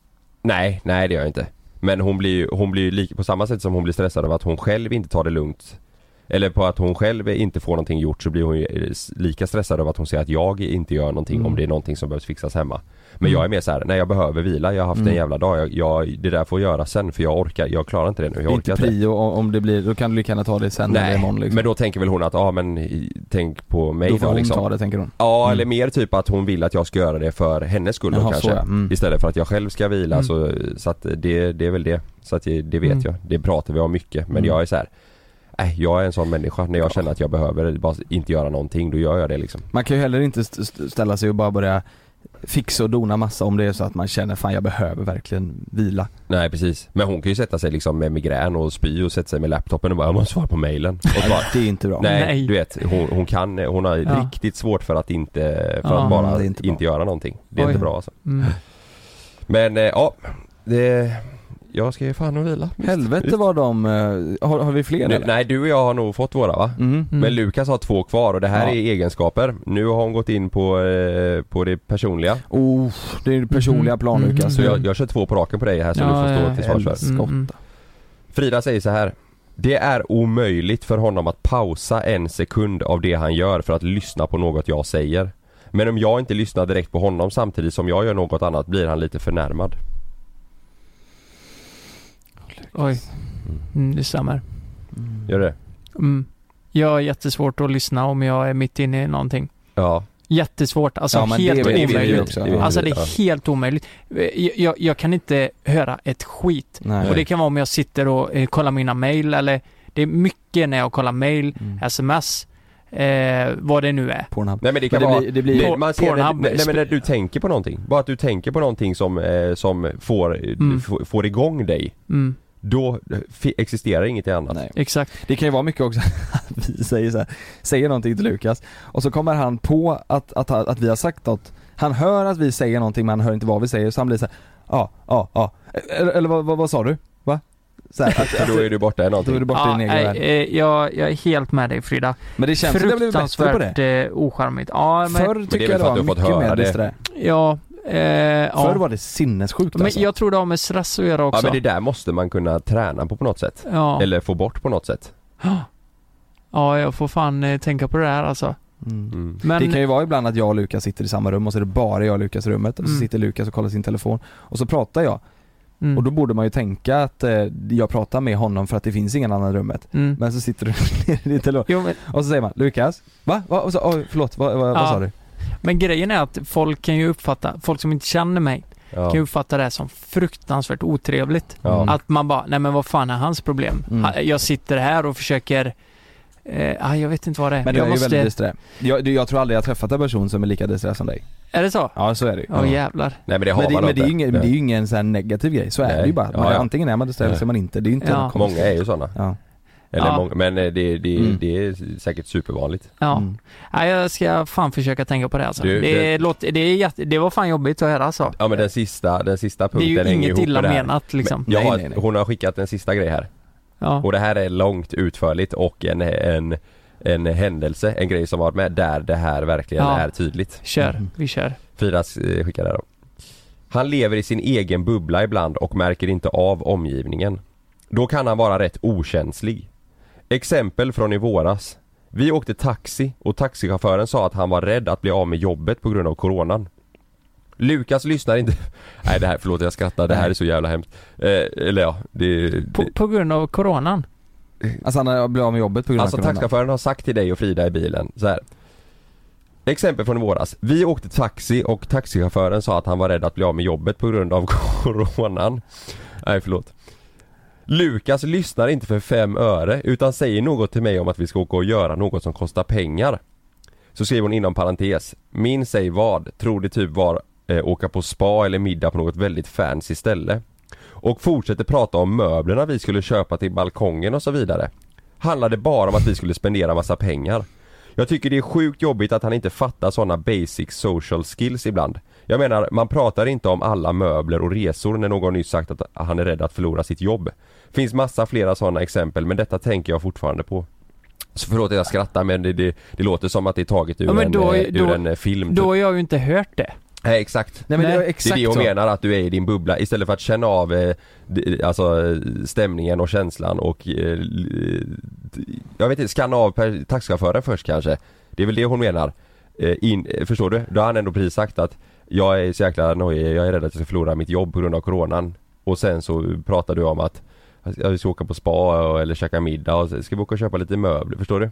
C: Nej, nej det gör jag inte. Men hon blir ju, hon blir ju lik, på samma sätt som hon blir stressad av att hon själv inte tar det lugnt. Eller på att hon själv inte får någonting gjort så blir hon ju eh, s- lika stressad av att hon ser att jag inte gör någonting
A: Mm.
C: om det är någonting som behövs fixas hemma. Men jag är mer så här: nej jag behöver vila, jag har haft
A: Mm.
C: en jävla dag, jag, jag, det där får jag göra sen för jag orkar, jag klarar inte det nu, jag orkar
A: inte prio om om det blir, då kan du lika gärna ta det sen eller
C: Nej,
A: imorgon liksom.
C: men då tänker väl hon att, ja ah, men i- tänk på mig
A: Då får hon
C: liksom.
A: ta det tänker hon.
C: Ja eller mer typ att hon vill att jag ska göra det för hennes skull då
A: Mm. Jaha,
C: kanske.
A: så ja. Mm.
C: Istället för att jag själv ska vila
B: Mm.
C: så, så att det, det är väl det. Så att det, det vet
B: Mm.
C: jag. Det pratar vi om mycket men
A: Mm.
C: jag är så här. Nej, jag är en sån människa. När jag känner att jag behöver bara inte göra någonting, då gör jag det liksom.
A: Man kan ju heller inte st- st- ställa sig och bara börja fixa och dona massa om det är så att man känner fan jag behöver verkligen vila.
C: Nej precis. Men hon kan ju sätta sig liksom med migrän och spy och sätta sig med laptopen och bara 'Jag måste svara på mailen' och så bara,
A: Det är inte bra.
C: Nej,
B: Nej.
C: du vet. Hon, hon kan, hon har
B: Ja.
C: riktigt svårt för att inte, för
B: Ja.
C: att bara
A: Det är inte
C: inte,
A: bra.
C: göra någonting. Det är
B: Oj.
C: inte bra alltså.
B: Mm.
C: Men eh, ja, det... Jag ska ju fan och vila.
A: Helvete vad de, eh, har, har vi fler
C: Nu,
A: eller?
C: nej du och jag har nog fått våra va?
A: Mm.
B: Mm.
C: Men Lukas har två kvar och det här
A: Ja.
C: är egenskaper. Nu har hon gått in på, eh, på det personliga.
A: Oh, det är det personliga
B: Mhm.
A: plan
B: Mhm.
A: Lukas.
C: Så
B: Mm.
C: jag, jag kör två på raken på dig här så
B: Ja,
C: du får stå
B: ja,
C: till svars för.
B: Mm,
C: Mm.
A: helst. skotta.
C: Frida säger så här. Det är omöjligt för honom att pausa en sekund av det han gör för att lyssna på något jag säger. Men om jag inte lyssnar direkt på honom samtidigt som jag gör något annat blir han lite förnärmad.
B: Oj. Mm, det stämmer.
C: Gör det?
B: Mm. Jag har jättesvårt att lyssna om jag är mitt inne i någonting.
C: Ja.
B: Jättesvårt, alltså
A: Ja, men det
B: helt
A: vet vi ju
B: omöjligt.
A: också.
C: vi
B: Alltså det
C: Ja.
B: är helt omöjligt. Eh, Jag, jag, jag kan inte höra ett skit.
A: Nej.
B: Och det kan vara om jag sitter och eh, kollar mina mail eller det är mycket när jag kollar mail,
A: Mm.
B: sms, eh, vad det nu är.
A: Pornhub.
C: Nej men det kan
A: Men det
C: vara,
A: blir- det blir-
C: Nej, man ser när,
B: Pornhub-
C: nej, men när du tänker på någonting, bara att du tänker på någonting som, eh, som får,
B: Mm.
C: f- får igång dig
B: Mm,
C: Då f- existerar inget annat
A: Nej.
B: exakt.
A: Det kan ju vara mycket också att vi säger så här, säger någonting till Lukas och så kommer han på att, att, att vi har sagt något. Han hör att vi säger någonting men han hör inte vad vi säger så han blir så här, ja, ja, ja. Eller, eller vad, vad, vad sa du? Va? Så här, att,
C: För då är du borta i
A: då är
C: någonting
A: du borta i din egen
B: nej,
A: värld.
B: eh, jag, jag är helt med dig Frida.
A: Men det känns som att det har blivit bättre på det.
B: Fruktansvärt eh, ocharmigt. Ja, men,
A: Förr
C: det är
A: tycker
C: väl
A: jag
C: för
A: det
C: att
A: var
C: du har
A: mycket
C: fått höra
A: mer
C: det.
A: disträ.
B: ja, eh, ja.
A: Förr var det sinnessjukt
B: Men
A: alltså.
B: jag tror det har med stress att göra
C: Ja
B: också.
C: men det där måste man kunna träna på på något sätt
B: ja.
C: Eller få bort på något sätt
B: ja, jag får fan eh, tänka på det här alltså.
A: Mm.
C: mm.
B: Men,
A: Det kan ju vara ibland att jag och Lukas sitter i samma rum och så är det bara jag och Lukas i rummet och så
B: Mm.
A: sitter Lukas och kollar sin telefon och så pratar jag
B: mm,
A: och då borde man ju tänka att eh, jag pratar med honom för att det finns ingen annan i rummet.
B: mm.
A: Men så sitter du *laughs* nere i din telefon
B: Jo, men,
A: och så säger man Lukas, va? va? Och så, oj, förlåt, va, va, vad
B: Ja.
A: sa du?
B: men grejen är att folk kan ju uppfatta, folk som inte känner mig,
C: ja.
B: kan ju uppfatta det här som fruktansvärt otrevligt.
C: Ja.
B: Att man bara, nej men vad fan är hans problem?
A: Mm.
B: Ha- Jag sitter här och försöker, eh, ah, jag vet inte vad det är.
A: Men det
B: jag
A: är ju väldigt disträ. Jag, du, jag tror aldrig jag har träffat en person som är lika disträ som dig.
B: är det så?
A: Ja, så är det ju.
B: Ja
C: Ja.
B: jävlar.
C: Nej men det har
A: Men det,
C: man
A: men det är ju
C: inte
A: ingen, men det är ju ingen sån här negativ grej, så är
C: Nej.
A: det ju bara. Man,
C: Ja, ja.
A: Antingen är man disträ eller så är man inte. Det är ju inte
B: Ja.
A: något
C: Många
A: konstigt.
C: är ju sådana
A: Ja.
C: Eller
B: Ja.
C: många, men eh, det, det,
A: Mm.
C: det är säkert supervanligt
B: Ja.
A: Mm.
B: Nej, jag ska fan försöka tänka på det alltså.
C: Du,
B: det,
C: det-
B: det... Låter, det, är jätte, det var fan jobbigt att höra alltså.
C: Ja men den sista, den sista
B: Det är
C: punkten
B: ju
C: hänger
B: inget
C: ihop
B: illa
C: med det här.
B: menat liksom.
C: Men jag
A: Nej,
C: har,
A: nej, nej.
C: Hon har skickat en sista grej här
B: Ja.
C: Och det här är långt utförligt och en, en, en händelse, en grej som har varit med där det här verkligen
B: Ja.
C: är tydligt.
B: Kör,
A: Mm.
B: vi kör.
C: Fridas eh, skickar det här då. Han lever i sin egen bubbla ibland och märker inte av omgivningen. Då kan han vara rätt okänslig. Exempel från i våras. Vi åkte taxi och taxichauffören sa att han var rädd att bli av med jobbet på grund av coronan. Lukas lyssnar inte. *laughs* Nej det här, förlåt jag skrattar, det här är så jävla hemskt. Eh, eller ja, det...
B: På,
C: det
B: på grund av coronan.
A: Alltså han har blivit av med jobbet på grund
C: alltså
A: av corona.
C: taxichauffören har sagt till dig och Frida i bilen så här. Exempel från i våras. Vi åkte taxi och taxichauffören sa att han var rädd att bli av med jobbet på grund av *laughs* coronan. Nej förlåt. Lukas lyssnar inte för fem öre utan säger något till mig om att vi ska åka och göra något som kostar pengar. Så skriver hon inom parentes. Min säg vad, tror det typ var eh, åka på spa eller middag på något väldigt fancy ställe. Och fortsätter prata om möblerna vi skulle köpa till balkongen och så vidare. Handlade bara om att vi skulle spendera massa pengar. Jag tycker det är sjukt jobbigt att han inte fattar sådana basic social skills ibland. Jag menar, man pratar inte om alla möbler och resor när någon nyss sagt att han är rädd att förlora sitt jobb. Finns massa flera sådana exempel men detta tänker jag fortfarande på. Så förlåt att jag skrattar men det, det, det låter som att det är taget ur,
B: Ja, men
C: en,
B: då-
C: eh, ur
B: då-
C: en eh,
A: Mm.
C: film.
B: Då
C: typ.
B: har jag ju inte hört det.
C: Nej exakt.
A: Nej men det är
B: Nej.
A: exakt
C: det är det hon
A: så.
C: menar, att du är i din bubbla istället för att känna av eh, d- alltså, eh, stämningen och känslan och eh, l- d- Jag vet inte, skanna av per- taxichauffören först kanske Det är väl det hon menar eh, in, eh, Förstår du? Då har han ändå precis sagt att Jag är så jäkla nojig, jag är rädd att jag ska förlora mitt jobb på grund av coronan Och sen så pratar du om att ja, Vi ska åka på spa och, eller käka middag och så ska vi åka och köpa lite möbler, förstår du?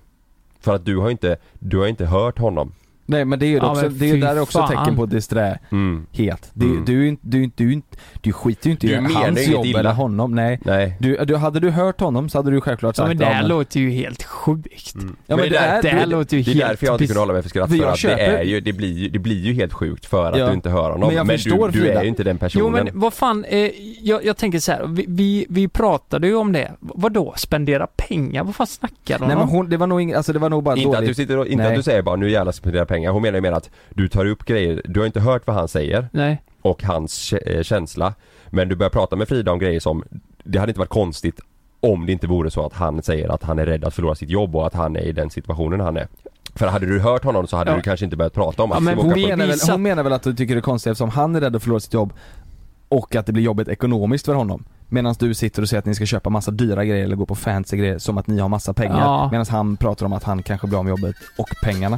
C: För att du har inte, du har inte hört honom
A: Nej men det är ju
B: Ja,
A: också,
B: men
A: det är ju
B: fy
A: där också
B: fan.
A: tecken på disträhet.
C: mm.
A: Det,
C: Mm.
A: Du, är ju inte- du, är inte- du, är inte- du skiter ju inte
C: Du
A: i
C: menar
A: hans
C: inget
A: jobb
C: illa.
A: eller honom, nej.
C: Nej
A: Du, du, hade du hört honom så hade du självklart
B: Ja,
A: sagt
B: men det
A: ja,
B: här
A: men-
B: låter ju helt sjukt.
A: Ja,
C: Men
A: men det
C: där-
A: är,
B: det här
A: du-
B: låter ju
C: Det är
B: helt
C: därför jag inte
B: bis-
C: kunde hålla mig för skratt
A: För
C: för
A: jag
C: att
A: köper-
C: det, är ju, det, blir ju, det blir ju helt sjukt för att
A: Ja.
C: du inte hör honom.
A: Men jag förstår,
C: du, du är
A: Frida.
C: ju inte den personen.
B: Jo men vad fan, eh, jag, jag tänker så här. Vi, vi, vi pratade ju om det. V- Vadå, spendera pengar? Vad fan snackar de
A: Nej men
B: om?
A: hon, det var nog ing, alltså det var nog bara
C: inte att, du
A: dåligt.
C: sitter och, inte
A: Nej.
C: att du säger bara nu jävlar ska jag spendera pengar. Hon menar ju mer att du tar upp grejer, du har inte hört vad han säger
B: Nej.
C: och hans kä- eh, känsla. Men du börjar prata med Frida om grejer som, det hade inte varit konstigt om det inte vore så att han säger att han är rädd att förlora sitt jobb och att han är i den situationen han är. För hade du hört honom så hade
B: Ja.
C: du kanske inte börjat prata om
B: Ja,
C: att
B: men
C: ska vi
A: hon,
C: åka på-
A: menar väl,
B: visat-
A: hon menar väl att du tycker det är konstigt eftersom han är rädd att förlora sitt jobb och att det blir jobbigt ekonomiskt för honom. Medan du sitter och säger att ni ska köpa massa dyra grejer eller gå på fancy grejer som att ni har massa pengar.
B: Ja.
A: Medan han pratar om att han kanske blir av med jobbet och pengarna.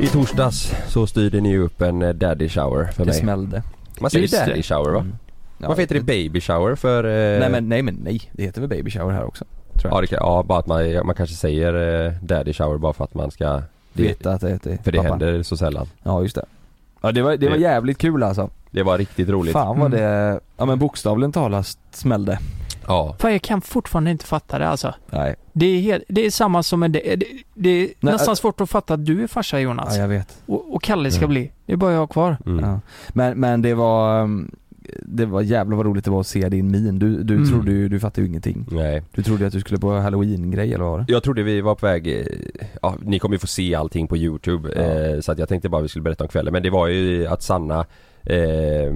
C: I torsdags så styrde ni ju upp en eh, daddy shower för
A: Det
C: mig.
A: smällde.
C: Man säger
B: Just det.
C: daddy shower va?
A: Mm. Ja,
C: Varför heter det baby shower för... Eh,
A: Nej men nej men nej, det heter väl baby shower här också?
C: ja, det kan, ja, bara att man, man kanske säger eh, daddy shower bara för att man ska... Det-
A: Veta att det heter
C: För det
A: pappa.
C: händer så sällan.
A: Ja just det. Ja det var, det var
C: Det-
A: jävligt kul alltså.
C: Det var riktigt roligt. Mm.
A: Fan vad det, ja men bokstavligen talat smällde.
C: Ja.
B: Fan, jag kan fortfarande inte fatta det alltså.
A: Nej,
B: Det är, helt, det är samma som en... Det, det, det är
A: Nej,
B: nästan
A: äh-
B: svårt att fatta att du är farsa Jonas.
A: ja jag vet.
B: och, och Kalle ska
C: Mm.
B: bli. Det är bara jag kvar.
C: Alltså. Mm.
A: Ja. Men, men det var, um, det var jävlar vad roligt det var att se din min. Du, du
B: Mm.
A: trodde ju, du fattade ju ingenting.
C: Nej.
A: Du trodde ju att du skulle på halloween-grej eller vad var det?
C: Jag trodde vi var på väg, eh, ja, ni kommer ju få se allting på youtube
A: Ja.
C: eh, så att jag tänkte bara vi skulle berätta om kvällen men det var ju att Sanna eh,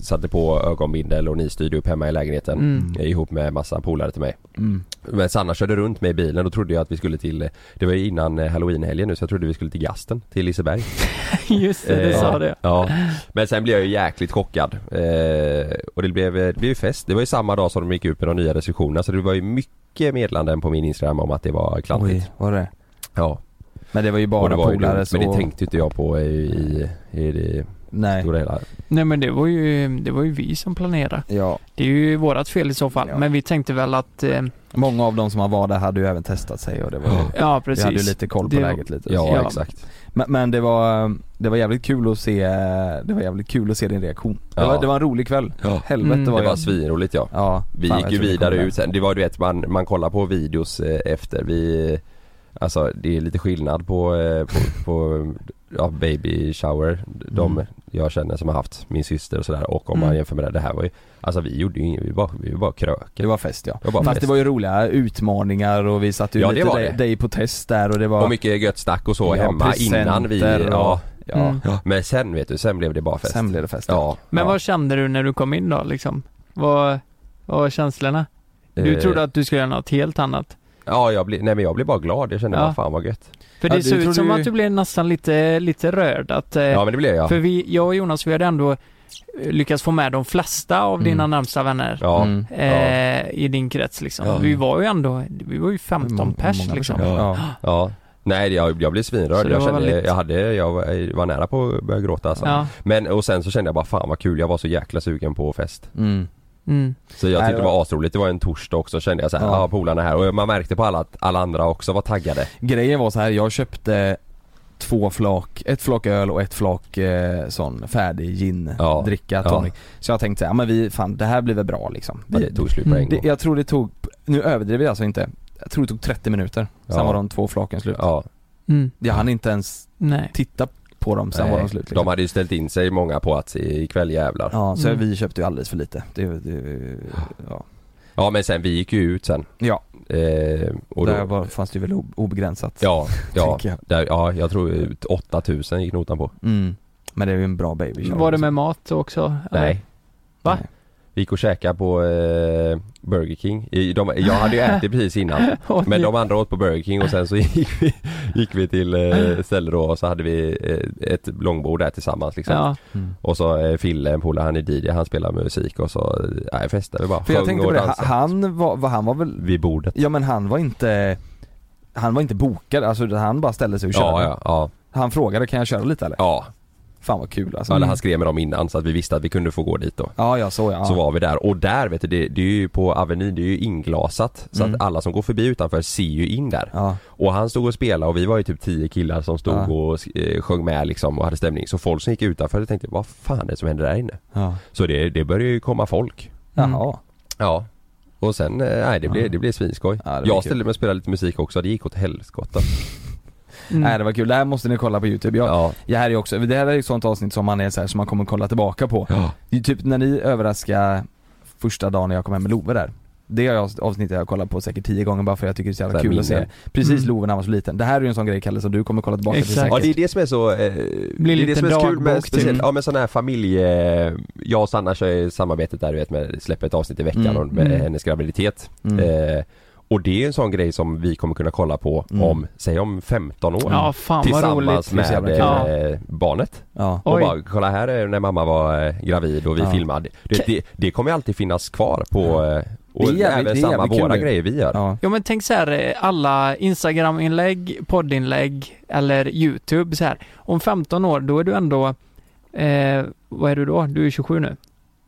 C: satte på ögonbindel och ni styrde upp hemma i lägenheten
B: Mm. *laughs*
C: eh, ihop med massa polare till mig.
A: Mm.
C: Men Sanna körde runt med i bilen, då trodde jag att vi skulle till, det var ju innan eh, halloweenhelgen nu så jag trodde vi skulle till Gasten, till Liseberg.
B: Just det, du
C: Eh,
B: sa
C: ja,
B: det.
C: Ja. Men sen blev jag ju jäkligt chockad. Eh, och det blev, det blev ju fest. Det var ju samma dag som de gick ut med de nya restriktionerna så det var ju mycket meddelanden på min Instagram om att det var klantigt.
A: Oj, vad var det?
C: Ja.
A: Men det var ju
C: Och det
A: bara
C: var ju
A: polare
C: dumt,
A: så...
C: Men det tänkte inte jag på i, i, i det
A: Nej.
C: stora hela.
B: Nej men det var ju, det var ju vi som planerade.
A: Ja.
B: Det är ju vårat fel i så fall.
A: Ja.
B: Men vi tänkte väl att, eh,
A: Många av dem som var där hade ju även testat sig och det var ju,
B: ja
A: vi
B: precis.
A: hade ju lite koll på
B: Det-
A: läget lite.
C: Ja,
B: Ja.
C: exakt.
A: Men, men det var, det var jävligt kul att se, det var jävligt kul att se din reaktion. Det,
C: Ja.
A: var, det var en rolig kväll.
C: Ja.
A: Helvete
B: Mm.
A: var
C: Det
A: jag.
C: var svinroligt ja.
A: Ja,
C: Vi
A: fan,
C: gick
A: jag
C: ju
A: tror vi
C: vidare
A: kommer
C: ut sen. Det var du vet man, man kollar på videos eh, efter. Vi, eh, alltså det är lite skillnad på, eh, på, *laughs* på ja, baby shower. De
A: Mm.
C: jag känner som har haft min syster och sådär och om man
B: Mm.
C: jämför med det, det här var ju Alltså vi gjorde ju inget, vi var, vi var bara
A: Det
C: kröker.
A: var fest ja.
C: Det var bara
A: Fast
C: fest.
A: det var ju roliga utmaningar och vi satte ju
C: Ja, det
A: lite
C: var
A: dig,
C: det.
A: dig på test där och det var...
C: Och mycket gött snack och så
A: Ja,
C: hemma
A: presenter
C: innan vi,
A: och-
C: ja,
A: ja.
B: Mm.
C: Men sen vet du, sen blev det bara fest.
A: Sen blev det fest.
C: ja.
B: Men
C: ja.
B: vad kände du när du kom in då liksom? Vad, vad var känslorna? Du
C: Eh,
B: trodde att du skulle göra något helt annat.
C: Ja, jag blev, nej men jag blev bara glad. Jag kände
B: Ja.
C: vad fan vad gött.
B: För
A: Ja,
B: det
A: du
B: såg ut
A: trodde
B: som
A: ju-
B: att du blev nästan lite, lite rörd att, eh,
C: Ja men det blev jag.
B: för vi, jag och Jonas vi hade ändå lyckas få med de flesta av dina
A: Mm.
B: närmsta vänner
C: Ja,
A: Mm.
B: eh, i din krets liksom.
C: Ja.
B: Vi var ju ändå, vi var ju 15
A: Många
B: pers
A: personer.
B: liksom.
C: Ja.
A: Ja.
C: ja. Nej jag, jag blev
B: Så
C: svinrörd.
B: det
C: Jag,
B: var
C: kände,
B: väldigt-
C: jag, hade, jag var, jag var nära på att börja gråta alltså.
B: Ja.
C: Men och sen så kände jag bara fan vad kul, jag var så jäkla sugen på fest.
A: Mm.
B: Mm.
C: Så jag
A: Nej,
C: tyckte
A: det
C: det
A: var-
C: var asroligt, det var en torsdag också kände jag såhär,
A: Ja.
C: ja ah, polarna är här och man märkte på alla att alla andra också var taggade.
A: Grejen var så här, jag köpte två flak, ett flak öl och ett flak eh, sån färdig gin
C: Ja.
A: dricka
C: Ja.
A: tonic. Så jag tänkte så här, ja men vi, fan det här blir väl bra liksom.
C: Men det tog slut på en
A: Det,
C: gång.
A: jag tror det tog, nu överdriver jag alltså inte, jag tror det tog 30 minuter. Sen
C: Ja.
A: var de två flaken slut.
C: Ja,
B: Mm.
A: Jag hann inte ens
B: Nej.
A: titta på dem, sen var
C: nej.
A: de slut liksom.
C: De hade ju ställt in sig många på att se ikväll jävlar. Ja.
A: Ja, så
B: Mm.
A: vi köpte ju alldeles för lite. Det, det, ja.
C: men sen vi gick ju ut sen.
A: Ja.
C: Eh, och
A: Där
C: då,
A: var, fanns det ju väl ob- obegränsat.
C: ja,
A: *laughs*
C: ja,
A: tänker jag.
C: där, ja, jag tror ut 8000 gick notan på.
A: Mm. Men det är ju en bra baby shower,
B: Var det
A: liksom.
B: med mat också? *laughs*
C: Nej.
B: Va?
A: Nej.
C: Vi gick och käkade på eh, Burger King. I, de, jag hade ju ätit
B: *laughs*
C: precis innan.
B: Oj.
C: Men de andra åt på Burger King och sen så gick vi, *laughs* gick vi till eh, ställe då och så hade vi eh, ett långbord där tillsammans liksom.
B: Ja.
A: Mm.
C: Och så eh, Fille, en polare, han är DJ, han spelar musik och så, eh, nej festade vi bara.
A: För jag
C: Sjöng
A: tänkte på
C: och
A: det, han,
C: dansade.
A: han var, var, han var väl,
C: Vid bordet.
A: ja men han var inte han var inte bokad, alltså han bara ställde sig och körde.
C: Ja, ja, ja.
A: Han frågade kan jag köra lite eller?
C: ja.
A: Fan vad kul alltså.
C: Så eller han skrev med dem innan så att vi visste att vi kunde få gå dit då.
A: Ja, ja så ja.
C: Så var vi där och där vet du, det, det är ju på Avenyn, det är ju inglasat. Så
A: Mm.
C: att alla som går förbi utanför ser ju in där.
A: Ja.
C: Och han stod och spelade och vi var ju typ tio killar som stod
A: Ja.
C: och eh, sjöng med liksom och hade stämning. Så folk som gick utanför tänkte vad fan är det som händer där inne?
A: ja.
C: Så det, det började ju komma folk.
B: Mm.
A: Jaha.
C: Ja. Och sen, eh, nej det blev,
A: Ja.
C: det blev svinskoj.
A: Ja, det blir
C: jag
A: kul.
C: ställde mig och spelade lite musik också, det gick åt helskotta.
B: Mm.
A: Nej det var kul, det här måste ni kolla på youtube. Jag,
C: Ja.
A: Det här är också, det här är ett sånt avsnitt som man är så här, som man kommer kolla tillbaka på.
C: Ja.
A: Det är Typ när ni överraskade första dagen när jag kom hem med Love där. Det är jag- avsnittet jag har kollat på säkert tio gånger bara för jag tycker det är så
C: Så
A: jävla
C: här
A: kul att
C: minnen.
A: se. Precis
B: Mm.
A: Love när han var så liten. Det här är ju en sån grej Kalle som du kommer kolla tillbaka till
B: Exakt.
A: säkert.
C: Ja det är det som är så, eh, det är
B: lite
C: det som är så kul
B: dagbok,
C: med speciellt,
B: typ.
C: ja men sådana här familje, jag och Sanna kör ju samarbetet där du vet med, släpper ett avsnitt i veckan
A: Mm.
C: och med
B: Mm.
C: hennes graviditet.
A: Mm.
C: Eh, och det är en sån grej som vi kommer kunna kolla på
A: Mm.
C: om, säg om 15 år.
B: Ja, fan vad roligt.
C: Tillsammans
A: Det är så
C: med
A: jävla
C: eh, barnet.
A: Ja.
C: Och
B: Oj.
C: bara, kolla här är när mamma var eh, gravid och vi
A: Ja.
C: filmade.
B: Ke-
C: Det, det, det kommer ju alltid finnas kvar på, eh, och
A: Det är jävligt-
C: även
A: det är
C: samma
A: jävligt kul
C: våra
A: ju.
C: grejer vi gör.
A: Ja.
B: Ja men tänk så här, eh, alla Instagram-inlägg, poddinlägg eller YouTube så här. Om 15 år, då är du ändå, eh, vad är du då? Du är 27 nu?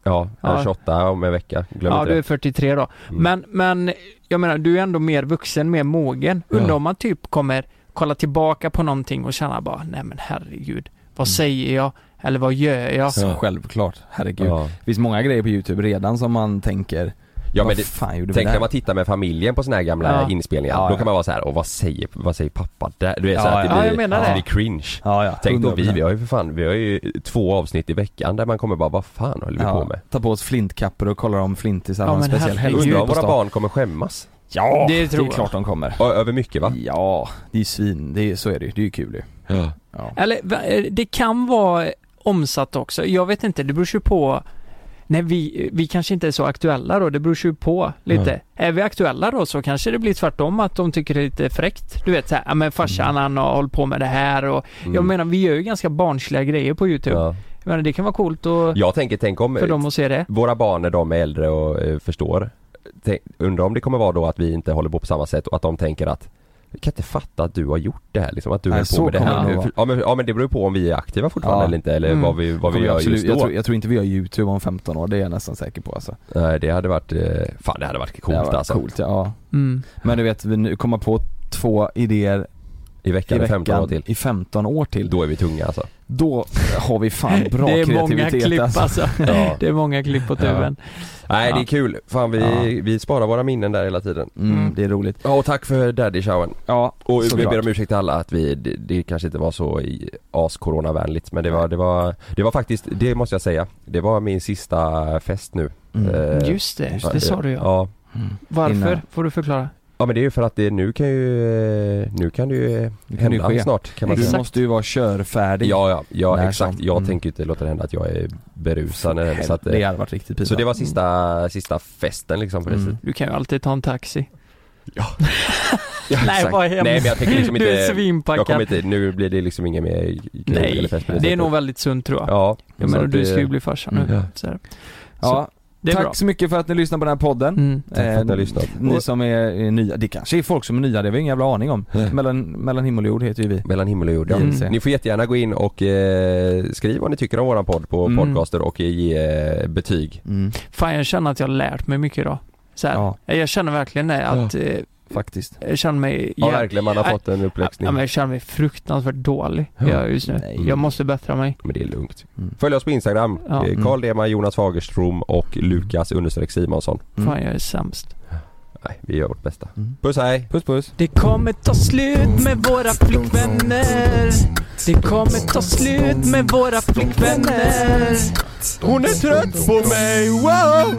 C: Ja, jag är
B: Ja.
C: 28 om en vecka, glöm
B: Ja,
C: inte
B: du
C: det.
B: är 43 då.
C: Mm.
B: Men, men jag menar, du är ändå mer vuxen, mer mogen. Undrar
C: Ja.
B: om man typ kommer kolla tillbaka på någonting och känna bara, nej men herregud, vad
C: Mm.
B: säger jag? Eller vad gör jag?
A: Så självklart, herregud.
C: Ja.
A: Det finns många grejer på youtube redan som man tänker,
C: Ja, men
A: vad
C: det,
A: fan gjorde vi
C: Tänk
A: där?
C: när man tittar med familjen på såna här gamla
B: Ja.
C: inspelningar,
A: Ja,
C: då
A: ja.
C: kan man vara så här, och vad säger, vad säger pappa där? Du vet
A: Ja,
C: så att
A: ja.
C: det
B: Ja,
C: blir,
B: jag menar
C: det
B: det.
C: blir cringe.
A: Ja, ja.
C: Tänk då vi,
A: 100%.
C: vi har ju för fan, vi har ju två avsnitt i veckan där man kommer bara, vad fan håller vi på med?
A: Ta på oss flintkappor och kollar om flintisar
B: Ja,
A: har en
B: men
A: speciell
B: herregud.
A: helg
C: Undrar om
A: på
C: våra
A: stan.
C: barn kommer skämmas?
A: Ja,
B: Det tror
A: det är
B: jag.
A: klart de kommer.
C: Ö- Över mycket va?
A: Ja, det är svin, det är, så är det ju. Det är ju kul ju.
C: Ja.
A: Ja.
B: Eller va- eh, det kan vara omsatt också. Jag vet inte, det beror ju på. Nej, vi, eh, vi kanske inte är så aktuella då. Det beror ju på lite. Är vi aktuella då så kanske det blir tvärtom att de tycker det är lite fräckt. Du vet såhär, ja men farsan han har hållit på med det här och jag menar vi gör ju ganska barnsliga grejer på
A: Typ.
B: YouTube.
C: Ja.
B: Jag menar det kan vara coolt och,
C: Jag tänker, tänk om
B: för dem att se det.
C: våra barn när de är äldre och eh, förstår, tänk, undrar om det kommer vara då att vi inte håller på på samma sätt och att de tänker att jag kan inte fatta att du har gjort det här liksom, att du
A: Nej,
C: höll
A: så
C: på med det
A: kommer det nog
C: här.
A: vara.
C: ja, men, ja men det beror ju på om vi är aktiva fortfarande
A: Ja.
C: eller inte eller
B: Mm.
C: vad vi, vad vi
A: Kommer
C: gör
A: absolut,
C: just då.
A: jag, tror, jag tror inte vi gör youtube om 15 år, det är jag nästan säker på alltså.
C: Nej det hade varit, eh, fan det hade varit
A: Det
C: coolt
A: hade varit
C: alltså.
A: Coolt, ja.
B: Mm.
A: Men du vet, vi nu kommer på två idéer
C: I
A: i
C: veckan, i 15
A: veckan
C: år till.
A: i 15 år till. Då,
C: Då är vi tunga
A: *laughs*
C: alltså.
A: har vi
C: *laughs*
A: fan bra
B: det är många
A: kreativitet
B: klipp
A: alltså.
B: alltså.
C: Ja.
B: Det är många klipp på tuben.
C: Nej
A: Ja.
C: det är kul, fan vi,
A: Ja.
C: vi sparar våra minnen där hela tiden.
A: Mm,
B: Mm.
A: Det är roligt.
C: Ja och tack för daddy showen.
A: Ja,
C: Och vi
A: såklart.
C: ber om ursäkt till alla att vi, det, det kanske inte var så i- as-coronavänligt men det var, det var, det var faktiskt, det måste jag säga, det var min sista fest nu.
A: Mm.
C: Eh,
B: Just det, det sa du ja.
C: ja.
A: Mm.
B: Varför?
A: Innan-
B: Får du förklara.
C: Ja men det är ju för att det, nu kan ju, eh, nu kan det ju
A: Nu kan det ju
C: hända
A: ske.
C: snart kan man
A: Du
C: säga.
A: måste ju vara körfärdig.
C: Ja ja, ja
A: När
C: exakt.
A: som.
C: Jag
A: Mm.
C: tänker ju inte låta det hända att jag är berusad när det händer så att, eh,
A: det hade varit riktigt pinsamt.
C: Så det var sista, sista festen liksom på det
A: Mm.
B: *laughs*
C: sättet.
B: Du kan ju alltid ta en taxi. Nej,
C: Exakt.
B: bara hem.
C: Nej men jag tänker liksom inte,
B: *laughs* Du är
C: jag kommer
B: svinpackad.
C: inte, nu blir det liksom inget mer kul eller
B: Nej,
C: fest på
B: det är
C: sättet.
B: nog väldigt sunt tror jag.
C: Ja,
B: jag
C: så
B: menar
C: att
B: du
C: det-
B: ska ju bli farsa nu.
C: Mm.
B: Så här.
A: Ja,
B: Det är
A: tack
B: bra.
A: så mycket för att ni lyssnar på den här podden.
B: Mm.
C: Tack för att ni har lyssnat.
A: Ehm, Ni som är, är nya, det kanske är folk som är nya, det har vi ingen jävla aning om.
C: Mm.
A: Mellan, mellan himmel och jord heter ju vi.
C: *laughs* Mellan himmel och jord ja.
A: Mm.
C: Ni får jättegärna gå in och eh, skriva vad ni tycker om våran podd på
A: Mm.
C: podcaster och ge eh, betyg
A: Mm,
B: Fan jag känner att jag har lärt mig mycket idag. Så här.
A: Ja.
B: Jag känner verkligen det att, eh,
A: faktiskt.
B: jag känner mig...
C: Ja
B: jä-
C: verkligen, man har fått en uppläxning
B: Ja, men jag känner mig fruktansvärt dålig
C: Ja.
B: jag just nu.
A: Nej.
B: Jag måste bättra mig.
C: Men det är lugnt
A: Mm.
C: Följ oss på Instagram,
B: Ja.
C: Eh, Carl Dema, Jonas Fagerström och Lukas understreck Simonsson
A: Mm.
B: Fan jag är sämst.
C: Nej, vi gör vårt bästa
A: Mm.
C: Puss hej!
A: Puss puss.
B: Det kommer ta slut med våra flickvänner. Det kommer ta slut med våra flickvänner.
C: Hon är trött på mig, wow!